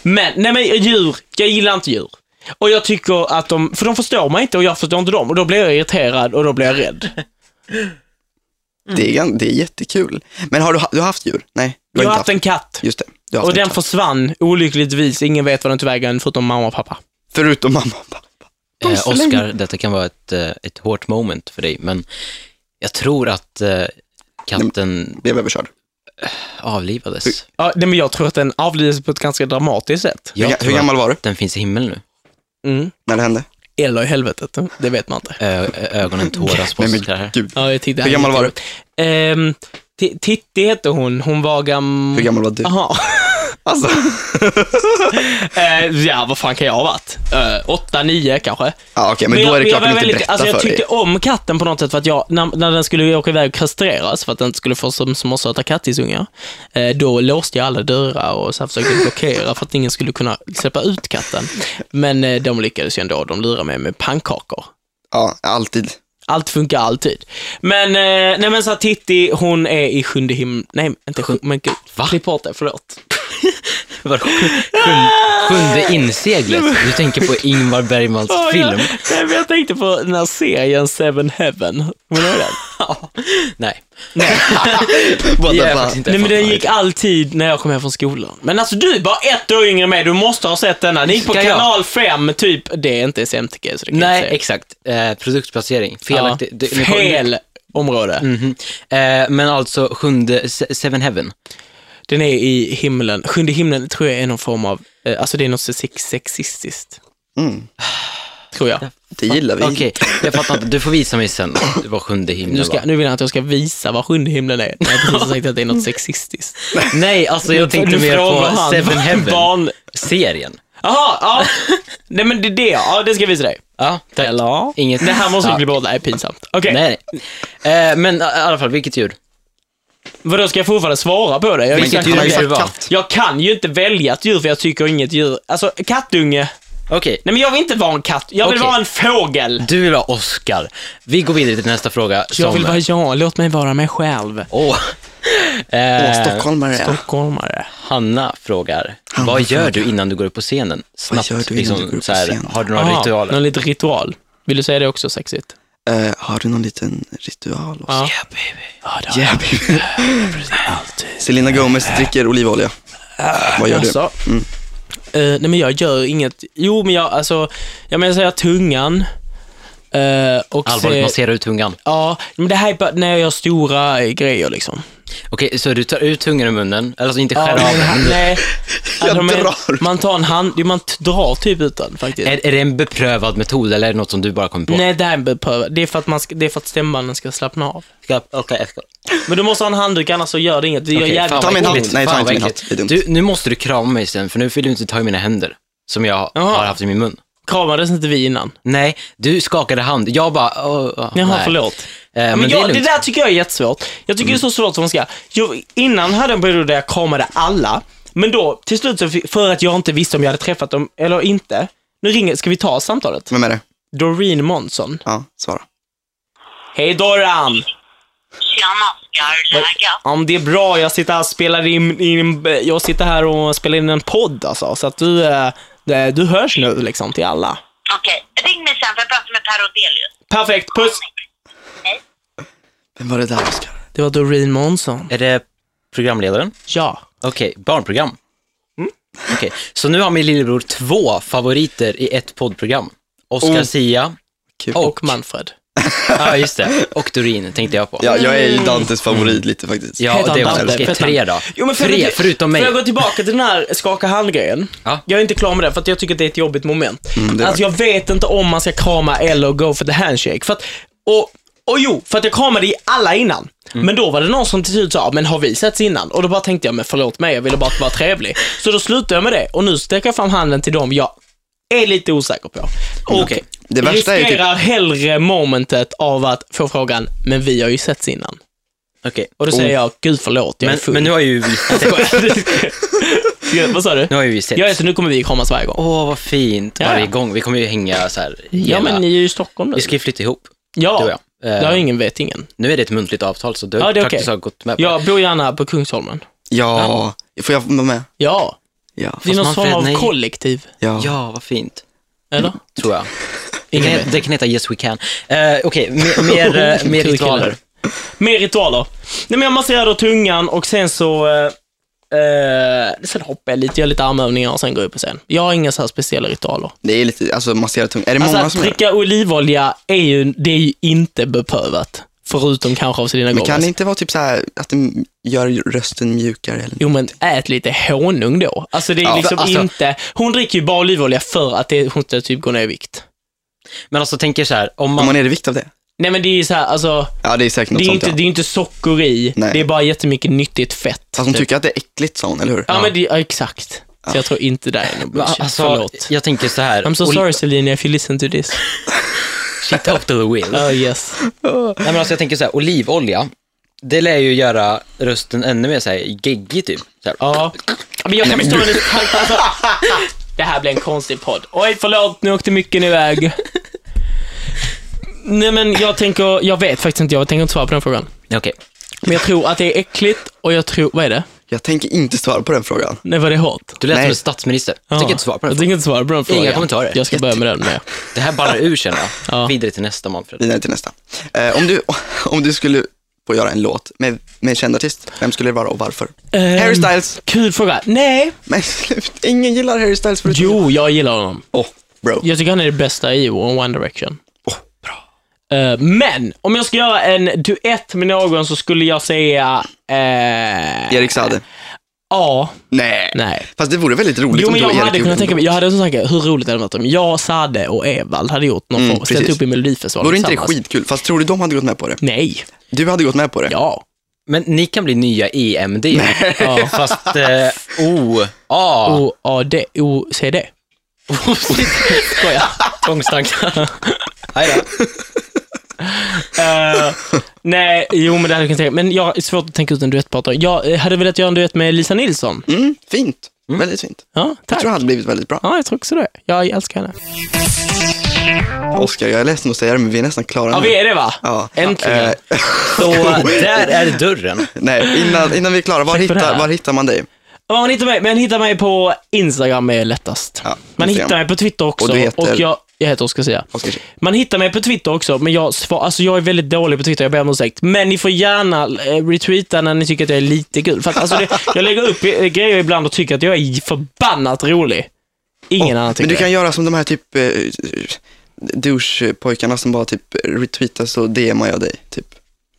Speaker 1: Men, nej men djur, jag gillar inte djur. Och jag tycker att de, för de förstår mig inte och jag förstår inte dem och då blir jag irriterad och då blir jag rädd.
Speaker 3: Det, är, gan- det är jättekul. Men har du, ha- du har haft djur? Nej, du
Speaker 1: Jag har
Speaker 3: inte
Speaker 1: haft en katt.
Speaker 3: Just det, du har haft
Speaker 1: Och
Speaker 3: en
Speaker 1: den
Speaker 3: katt.
Speaker 1: försvann olyckligtvis. Ingen vet vad den tog vägen förutom mamma och pappa.
Speaker 3: Förutom mamma och pappa. De
Speaker 2: Eh,
Speaker 3: slänger-
Speaker 2: Oscar, detta kan vara ett, eh, ett hårt moment för dig, men jag tror att eh, katten
Speaker 3: Blev överkörd.
Speaker 2: avlivades.
Speaker 1: Ja, nej, men jag tror att den avlidit på ett ganska dramatiskt sätt.
Speaker 3: Hur,
Speaker 2: Jag
Speaker 3: ga- hur
Speaker 2: tror att
Speaker 3: gammal var du
Speaker 2: den finns i himlen nu.
Speaker 1: Mm.
Speaker 3: när det hände?
Speaker 1: Eller i helvetet, det vet man inte.
Speaker 2: Ö- ö- [LAUGHS] ögonen tåras på
Speaker 3: Nej, men
Speaker 2: Oscar [LAUGHS] här.
Speaker 3: gud.
Speaker 1: Ja, jag tyckte
Speaker 3: Hur
Speaker 1: det här
Speaker 3: gammal var du?
Speaker 1: var- Ehm, Ti- Titti hette hon. Hon var gam...
Speaker 3: Hur gammal var du?
Speaker 1: Jaha. [LAUGHS]
Speaker 3: [LAUGHS] Alltså,
Speaker 1: Eh, ja, vad fan kan jag ha varit? Eh, åtta, nio kanske.
Speaker 3: ja, okej, men, då är det
Speaker 1: jag-
Speaker 3: klart
Speaker 1: jag
Speaker 3: de
Speaker 1: var
Speaker 3: inte
Speaker 1: väldigt-
Speaker 3: berättar
Speaker 1: alltså, jag
Speaker 3: för
Speaker 1: tyckte
Speaker 3: dig.
Speaker 1: om katten på något sätt för att jag, när, när den skulle åka iväg och kastreras för att den inte skulle få som små söta kattisungar, eh, då låste jag alla dörrar och så här försökte blockera för att ingen skulle kunna släppa ut katten. Men eh, de lyckades ju ändå, de lurade mig med pannkakor.
Speaker 3: Ja, alltid.
Speaker 1: Allt funkar alltid. Men, eh, nej men så här, Titti, hon är i sjunde himlen, nej inte sjunde, men gud,
Speaker 2: Va?
Speaker 1: klipp bort det, förlåt.
Speaker 2: Var- sjun- [LAUGHS] Sjunde inseglet. Du tänker på Ingmar [LAUGHS] Bergmans
Speaker 1: Ja,
Speaker 2: film.
Speaker 1: Jag, nej, men jag tänkte på den här serien Seven Heaven, kommer du ihåg den?
Speaker 2: Nej. [LAUGHS]
Speaker 3: Båda
Speaker 2: Det är
Speaker 3: bara,
Speaker 2: faktiskt inte
Speaker 1: Nej men den
Speaker 2: fan.
Speaker 1: gick alltid när jag kom hem från skolan. Men alltså du är bara ett år yngre än mig, du måste ha sett denna. Ni gick på
Speaker 2: Ska jag?
Speaker 1: kanal 5, typ. Det är inte SMTG så det kan jag
Speaker 2: Nej,
Speaker 1: inte
Speaker 2: exakt. Eh, produktplacering.
Speaker 1: säga.
Speaker 2: Felaktigt.
Speaker 1: Ja. Fel område.
Speaker 2: Mhm. Eh, men alltså sjunde, se- Seven Heaven.
Speaker 1: Den är i himlen. Sjunde himlen tror jag är någon form av, eh, alltså det är något sex- sexistiskt.
Speaker 3: mm,
Speaker 1: Tror jag.
Speaker 3: det gillar vi.
Speaker 2: Okej, jag fattar inte. Du får visa mig sen Det var sjunde himlen
Speaker 1: Nu, ska,
Speaker 2: va?
Speaker 1: nu vill han att jag ska visa vad sjunde himlen är. Jag har precis sagt att det är något sexistiskt.
Speaker 2: Nej, alltså [LAUGHS] jag tänkte
Speaker 1: Nu
Speaker 2: mer
Speaker 1: frågar
Speaker 2: på
Speaker 1: han
Speaker 2: Seven Heaven.
Speaker 1: Barn...
Speaker 2: Serien.
Speaker 1: Jaha, ja.
Speaker 2: [LAUGHS]
Speaker 1: Nej men det är det, ja det ska jag visa dig.
Speaker 2: Ja, tack.
Speaker 1: Eller?
Speaker 2: Inget.
Speaker 1: Det här måste vi
Speaker 2: Ja.
Speaker 1: bli bort, det här är pinsamt. Okej.
Speaker 2: Nej, nej. Eh, men i alla fall, vilket djur?
Speaker 1: Vadå, ska jag fortfarande svara på det? Jag,
Speaker 2: Vilket
Speaker 1: jag,
Speaker 2: djur
Speaker 3: Han har ju
Speaker 2: vill du
Speaker 3: sagt
Speaker 2: vara?
Speaker 3: katt.
Speaker 1: jag kan ju inte välja ett djur för jag tycker inget djur. Alltså, kattunge.
Speaker 2: Okej,
Speaker 1: Nej men jag vill inte vara en katt. Jag vill
Speaker 2: Okej.
Speaker 1: vara en fågel.
Speaker 2: du vill vara Oscar. Vi går vidare till nästa fråga.
Speaker 1: Jag
Speaker 2: som-
Speaker 1: vill vara jag. Låt mig vara mig själv.
Speaker 2: Åh. Eh,
Speaker 3: Åh, stockholmare. ja.
Speaker 1: Stockholmare.
Speaker 2: Hanna frågar, vad gör du innan du går upp på scenen? Snabbt, liksom
Speaker 3: gör du innan du går upp på
Speaker 2: så här,
Speaker 3: scenen?
Speaker 2: har du några
Speaker 1: Aha,
Speaker 2: ritualer?
Speaker 1: Någon liten ritual. Vill du säga det också sexigt?
Speaker 3: Eh, har du någon liten ritual? Och så? [LAUGHS]
Speaker 1: Ja. Ja, det har
Speaker 3: Yeah, baby.
Speaker 1: jag alltid.
Speaker 3: Selena Gomez dricker olivolja. Vad gör du?
Speaker 1: Alltså, eh, nej men jag gör inget. Jo men jag, alltså, jag menar säga tungan. eh, och
Speaker 2: Allvarligt,
Speaker 1: se-
Speaker 2: massera ut tungan.
Speaker 1: Ja, men det här är bara när jag gör stora eh, grejer liksom.
Speaker 2: Okej, så du tar ut tungan ur munnen, alltså inte skär
Speaker 1: Ja,
Speaker 2: av
Speaker 1: men
Speaker 2: den.
Speaker 1: han-
Speaker 2: [LAUGHS]
Speaker 1: nej. Alltså,
Speaker 3: Jag
Speaker 1: de är-
Speaker 3: drar.
Speaker 1: Man tar en hand, jo, man t- drar typ ut den faktiskt.
Speaker 2: Är, är det en beprövad metod eller är det något som du bara kommer på?
Speaker 1: Nej, det här är beprövat. Det är för att, man ska, det är för att stämbanden ska slappna av.
Speaker 2: Ska- Okej, jag ska.
Speaker 1: Men du måste ha en handduk, annars så gör det inget. Det gör
Speaker 2: Okej,
Speaker 1: jävligt
Speaker 3: Ta
Speaker 2: vad
Speaker 3: min hand.
Speaker 2: äckligt.
Speaker 3: Nej, ta
Speaker 2: Fan,
Speaker 3: inte
Speaker 2: vad
Speaker 3: min hand.
Speaker 2: äckligt.
Speaker 3: Det är dumt.
Speaker 2: Du, nu måste du krama mig sen, för nu vill du inte ta i mina händer. Som jag
Speaker 1: Jaha.
Speaker 2: har haft i min mun.
Speaker 1: Kramades inte vi innan?
Speaker 2: Nej, du skakade hand. Jag bara, åh, åh,
Speaker 1: Jaha,
Speaker 2: nej.
Speaker 1: förlåt.
Speaker 2: Eh, men
Speaker 1: men
Speaker 2: det
Speaker 1: jag,
Speaker 2: är
Speaker 1: det,
Speaker 2: lugnt. Mm.
Speaker 1: där tycker jag är jättesvårt. Jag tycker det är så svårt som man ska. Jag, innan hade jag en period där jag kramade alla, men då till slut, så, fi- för att jag inte visste om jag hade träffat dem eller inte. Nu ringer, ska vi ta samtalet?
Speaker 2: Mm.
Speaker 3: Vem är det?
Speaker 1: Doreen Monson.
Speaker 3: Ja, svara.
Speaker 1: Hej Dorran!
Speaker 4: Tjena Oskar, läget?
Speaker 1: Ja, men det är bra. Jag sitter här och spelar in, in, jag sitter här och spelar in en podd alltså, så att du, eh, eh, du hörs nu liksom till alla.
Speaker 4: Okej, ring mig sen för jag pratar med Per Odelius.
Speaker 1: Perfekt, puss!
Speaker 3: Vem var det där, Oskar?
Speaker 1: Det var Doreen Monson.
Speaker 2: Är det programledaren?
Speaker 1: Ja.
Speaker 2: Okej, barnprogram.
Speaker 1: Mm.
Speaker 2: Okej, så nu har min lillebror två favoriter i ett poddprogram. Oscar
Speaker 1: [LAUGHS]
Speaker 3: Oh.
Speaker 2: Sia,
Speaker 3: Kul.
Speaker 1: Och Manfred.
Speaker 2: ja just det, och Dorin tänkte jag på.
Speaker 3: Ja, jag är ju Dantes favorit lite faktiskt.
Speaker 2: Ja,
Speaker 1: Heter han
Speaker 2: det var
Speaker 1: Dante?
Speaker 2: okay,
Speaker 1: Heter han-
Speaker 2: tre då.
Speaker 1: Jo, men för jag
Speaker 2: tre,
Speaker 1: vill-
Speaker 2: förutom mig.
Speaker 1: Får jag gå tillbaka till den här skaka hand-grejen?
Speaker 2: Ja.
Speaker 1: Jag är inte klar med det, för att jag tycker att det är ett jobbigt moment.
Speaker 3: Mm, det är
Speaker 1: alltså, jag vet inte om man ska krama eller go for the handshake. För att, och, och jo, för att jag kramade i alla innan.
Speaker 2: Mm.
Speaker 1: Men då var det någon som till slut sa, men har vi setts innan? Och då bara tänkte jag, men förlåt mig, jag ville bara vara trevlig. Så då slutade jag med det och nu sträcker jag fram handen till dem jag är lite osäker på. Och
Speaker 2: Okej.
Speaker 3: Det värsta är ju typ-
Speaker 1: riskerar hellre momentet av att få frågan, men vi har ju setts innan.
Speaker 2: Okej,
Speaker 1: Och då säger jag, gud förlåt, jag är
Speaker 2: Oh. men,
Speaker 1: full.
Speaker 2: men nu har ju vi sett.
Speaker 1: Ja, Vad sa du?
Speaker 2: Nu har ju vi sett.
Speaker 1: Ja, alltså nu kommer vi kramas varje gång.
Speaker 2: Åh, vad fint.
Speaker 1: Ja.
Speaker 2: Varje gång. Vi kommer ju hänga så här
Speaker 1: Ja, men ni är ju i Stockholm nu.
Speaker 2: Vi ska ju flytta ihop, du och
Speaker 1: Ja,
Speaker 2: jag. Eh,
Speaker 1: det har ingen vet ingen.
Speaker 2: Nu är det ett muntligt avtal, så du
Speaker 1: Ja,
Speaker 2: har
Speaker 1: det är
Speaker 2: praktiskt
Speaker 1: okej.
Speaker 2: taget gått med på
Speaker 1: Jag bor gärna på Kungsholmen.
Speaker 3: Ja, får jag vara med?
Speaker 1: Ja,
Speaker 3: Ja.
Speaker 1: det är
Speaker 2: Fast
Speaker 1: någon form
Speaker 2: Manfred,
Speaker 1: av
Speaker 2: nej.
Speaker 1: kollektiv.
Speaker 3: Ja.
Speaker 2: Ja, vad fint.
Speaker 1: [LAUGHS] Eller?
Speaker 2: tror jag. Det kan, det kan heta Yes We Can. Eh, Okej, mer,
Speaker 1: [LAUGHS]
Speaker 2: mer, eh, mer
Speaker 1: Kul
Speaker 2: ritualer.
Speaker 1: kille. Mer ritualer. Nej, men jag masserar då tungan och sen så... Eh, eh, sen hoppar jag lite, gör lite armövningar och sen går jag upp på scen. Jag har inga så här speciella ritualer.
Speaker 3: Det är lite, alltså massera tungan. Är det
Speaker 1: Alltså
Speaker 3: många
Speaker 1: att
Speaker 3: som gör det?
Speaker 1: dricka olivolja är ju, det är ju inte beprövat. Förutom kanske av Selena
Speaker 3: Men kan
Speaker 1: Gomez.
Speaker 3: det inte vara typ så här att det gör rösten mjukare? Eller?
Speaker 1: Jo men ät lite honung då. Alltså det är
Speaker 3: Ja,
Speaker 1: liksom
Speaker 2: för alltså-
Speaker 1: inte, hon dricker ju bara olivolja för att det, hon ska typ gå ner i vikt.
Speaker 2: Men alltså tänker så här, om
Speaker 3: Om
Speaker 2: man,
Speaker 3: man är i vikt av det?
Speaker 1: Nej men det är ju såhär, alltså,
Speaker 3: Ja, det är säkert
Speaker 1: det
Speaker 3: något
Speaker 1: är ju
Speaker 3: sånt
Speaker 1: inte,
Speaker 3: ja.
Speaker 1: det är ju inte socker i,
Speaker 3: Nej.
Speaker 1: det är bara jättemycket nyttigt fett. typ.
Speaker 3: Fast hon tycker att det är äckligt, sa hon, eller hur?
Speaker 1: Ja, men det, ja, exakt. Så jag tror inte det är någon bullshit.
Speaker 2: Alltså,
Speaker 1: Förlåt.
Speaker 2: jag tänker så här.
Speaker 1: I'm so sorry Selina if you listen to this.
Speaker 2: [LAUGHS] Shit up to the
Speaker 1: [LAUGHS]
Speaker 2: wheel.
Speaker 1: Oh yes.
Speaker 2: Nej, men alltså, jag tänker så här, olivolja, det lär ju göra rösten ännu mer så här geggig typ. Så här.
Speaker 1: Ja. Men jag kan förstå hennes tanke. Alltså, det här blir en konstig podd. Oj, förlåt, nu åkte mycket [LAUGHS] iväg. Nej men jag tänker, jag vet faktiskt inte, jag tänker inte svara på den frågan.
Speaker 2: Okej.
Speaker 1: Men jag tror att det är äckligt och jag tror, vad är det?
Speaker 3: Jag tänker inte svara på den frågan.
Speaker 1: Nej, var det hårt?
Speaker 2: Du lät
Speaker 3: Nej.
Speaker 2: som en statsminister. Jag tänker inte svara på
Speaker 1: Jag
Speaker 2: det.
Speaker 1: tänker inte svara på den frågan.
Speaker 2: kommentarer.
Speaker 1: Jag ska börja med den med.
Speaker 2: Det här ballar ur känner jag.
Speaker 1: Ja.
Speaker 2: Vidare till nästa Manfred.
Speaker 3: Vidare till nästa. Eh, om, du, [LAUGHS] om du skulle få göra en låt med, med en känd artist, vem skulle det vara och varför?
Speaker 1: Ehm,
Speaker 3: Harry Styles.
Speaker 1: Kul fråga. Nej.
Speaker 3: Men [LAUGHS] slut, ingen gillar Harry Styles förutom
Speaker 1: Jo, jag gillar honom.
Speaker 3: Åh, bro.
Speaker 1: Jag tycker han är det bästa i One Direction.
Speaker 3: Åh, bra.
Speaker 1: Eh, men, om jag ska göra en duett med någon så skulle jag säga... eh,
Speaker 3: Erik Saade.
Speaker 1: Ja.
Speaker 3: Nej.
Speaker 1: Nej.
Speaker 3: Fast det vore väldigt roligt
Speaker 1: Jo,
Speaker 3: om
Speaker 1: men
Speaker 3: du
Speaker 1: jag
Speaker 3: och Liksom Erik
Speaker 1: hade
Speaker 3: gjorde en
Speaker 1: kunnat tänka
Speaker 3: låt.
Speaker 1: mig, jag hade en sån tanke, hur roligt hade det varit om jag, Sade och Evald hade gjort någon
Speaker 3: Mm,
Speaker 1: form, ställt
Speaker 3: precis.
Speaker 1: upp i Melodifestivalen
Speaker 3: Vore inte det
Speaker 1: tillsammans.
Speaker 3: skitkul? Fast tror du de hade gått med på det?
Speaker 1: Nej.
Speaker 3: Du hade gått med på det?
Speaker 1: Ja.
Speaker 2: Men ni kan bli nya EMD. Ja, fast eh, O, A.
Speaker 1: O, A, D, O, C, [LAUGHS] D.
Speaker 2: Skoja. Tvångstankar. Nej då.
Speaker 1: [LAUGHS] Eh, nej, jo men det hade jag kunnat tänka Men jag är svårt att tänka ut en duettpartner. Jag eh, hade velat göra en duett med Lisa Nilsson.
Speaker 3: Mm, fint. Väldigt fint.
Speaker 1: Ja,
Speaker 3: Jag
Speaker 1: tack.
Speaker 3: tror det hade blivit väldigt bra.
Speaker 1: Ja, jag tror också det. Jag älskar henne.
Speaker 3: Oskar, jag är ledsen att säga det, men vi är nästan klara
Speaker 1: Ja,
Speaker 3: nu.
Speaker 1: vi är det va?
Speaker 3: Ja.
Speaker 1: Äntligen.
Speaker 3: Eh, [LAUGHS]
Speaker 2: Så där är dörren.
Speaker 3: nej, innan, innan vi är klara, var
Speaker 1: Tack för det
Speaker 3: hittar,
Speaker 1: här.
Speaker 3: var hittar man dig?
Speaker 1: Ja, man hittar mig, men hittar mig på Instagram är lättast.
Speaker 3: Ja,
Speaker 1: man
Speaker 3: Instagram.
Speaker 1: hittar mig på Twitter också.
Speaker 3: Och
Speaker 1: Och,
Speaker 3: du heter-
Speaker 1: jag, jag heter Oskar Zia.
Speaker 3: Oskar Zia.
Speaker 1: Man hittar mig på Twitter också, men jag, svar, alltså jag är väldigt dålig på Twitter, jag ber om ursäkt. Men ni får gärna eh, retweeta när ni tycker att jag är lite kul. För att, alltså, det, jag lägger upp eh, grejer ibland och tycker att jag är förbannat rolig. Ingen annan tycker
Speaker 3: Men du
Speaker 1: det.
Speaker 3: kan göra som de här typ eh, douche-pojkarna som bara typ retweetas och DMar jag dig. Typ.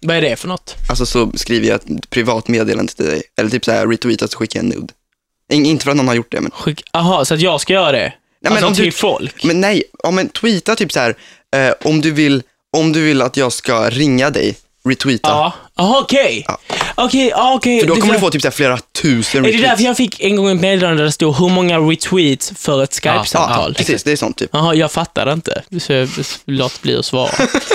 Speaker 1: Vad är det för något?
Speaker 3: Alltså så skriver jag ett privat meddelande till dig. Eller typ så här retweetas och skickar en nude. In, inte för att någon har gjort det, men.
Speaker 1: Skick, aha, så att jag ska göra det?
Speaker 3: men
Speaker 1: alltså
Speaker 3: om du-
Speaker 1: till folk?
Speaker 3: Men nej, ja, men tweeta typ så här. Eh, om, du vill, om du vill att jag ska ringa dig, retweeta.
Speaker 1: Ja. Jaha, okej.
Speaker 3: Ja.
Speaker 1: Okej, ja, okej.
Speaker 3: För då
Speaker 1: Det-
Speaker 3: kommer du få typ så här flera tusen
Speaker 1: Är det
Speaker 3: retweets.
Speaker 1: därför jag fick en gång ett meddelande där det stod hur många retweets för ett
Speaker 3: Ja,
Speaker 1: Skype-samtal?
Speaker 3: precis. Det är sånt typ.
Speaker 1: Jaha, jag fattade inte. Så jag låt bli att
Speaker 2: [LAUGHS]
Speaker 1: svara.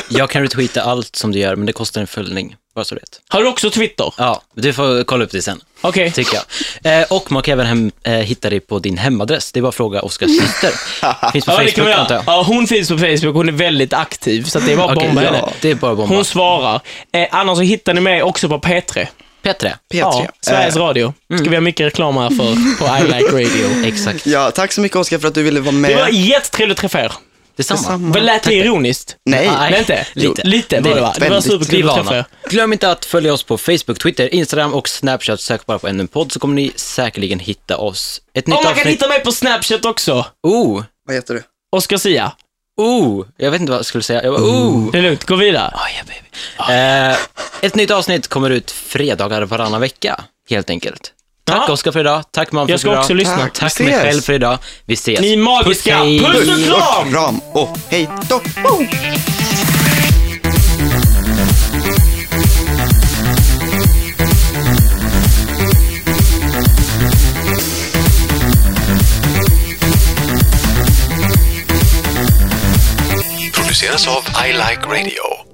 Speaker 2: Jag kan retweeta allt som du gör, men det kostar en följning. Bara så du vet.
Speaker 1: Har du också Twitter?
Speaker 2: Ja, du får kolla upp det sen.
Speaker 1: Okej.
Speaker 2: Tycker jag. Eh, och man kan även hem, eh, hitta dig på din hemadress. Det är bara att fråga Oskars syster. Finns på
Speaker 1: Ja, det kan
Speaker 2: Facebook,
Speaker 1: vi
Speaker 2: antar
Speaker 1: göra.
Speaker 2: jag.
Speaker 1: Ja, hon finns på Facebook, hon är väldigt aktiv, så att det är bara att
Speaker 2: Okej,
Speaker 1: bomba
Speaker 2: ja,
Speaker 1: henne.
Speaker 2: det är bara att bomba.
Speaker 1: Hon svarar. Eh, annars så hittar ni mig också på P3.
Speaker 2: Petre.
Speaker 3: P3.
Speaker 1: Ja, Sveriges
Speaker 3: Eh,
Speaker 1: Radio.
Speaker 2: Mm.
Speaker 1: Ska vi ha mycket reklam här
Speaker 2: [LAUGHS]
Speaker 1: för, på I Like Radio.
Speaker 2: Exakt.
Speaker 3: ja, tack så mycket Oskar för att du ville vara
Speaker 1: Det var
Speaker 3: med.
Speaker 1: jättetrevligt att träffa er.
Speaker 2: Detsamma.
Speaker 3: Detsamma.
Speaker 1: Vad Lät det ironiskt?
Speaker 3: Nej.
Speaker 1: Nej, inte?
Speaker 2: Lite.
Speaker 1: Lite var det va? Det var
Speaker 3: Väldigt.
Speaker 2: Vi
Speaker 1: superkul att
Speaker 2: är
Speaker 1: träffa er.
Speaker 2: vana. Glöm inte att följa oss på Facebook, Twitter, Instagram och Snapchat. Sök bara på en podd så kommer ni säkerligen hitta oss. Ett nytt
Speaker 1: Om man kan
Speaker 2: avsnitt.
Speaker 1: hitta mig på Snapchat också.
Speaker 2: Oh,
Speaker 3: Vad heter du?
Speaker 1: Oscar Sia.
Speaker 2: oh. Jag vet inte vad jag skulle säga. Jag bara, oh.
Speaker 1: Det är lugnt, gå vidare.
Speaker 2: Oh, yeah, baby. Eh, ett nytt avsnitt kommer ut fredagar varannan vecka, helt enkelt. Tack
Speaker 1: Ja.
Speaker 2: Oskar för idag, tack Manfred
Speaker 1: Jag ska
Speaker 2: för idag.
Speaker 1: också lyssna.
Speaker 3: Tack.
Speaker 2: Tack
Speaker 3: Vi
Speaker 2: mig
Speaker 3: ses.
Speaker 2: själv för idag. Vi ses.
Speaker 1: Ni är magiska.
Speaker 2: hej.
Speaker 1: Puss och kram!
Speaker 3: Kram och hej då!
Speaker 5: produceras av I Like Radio.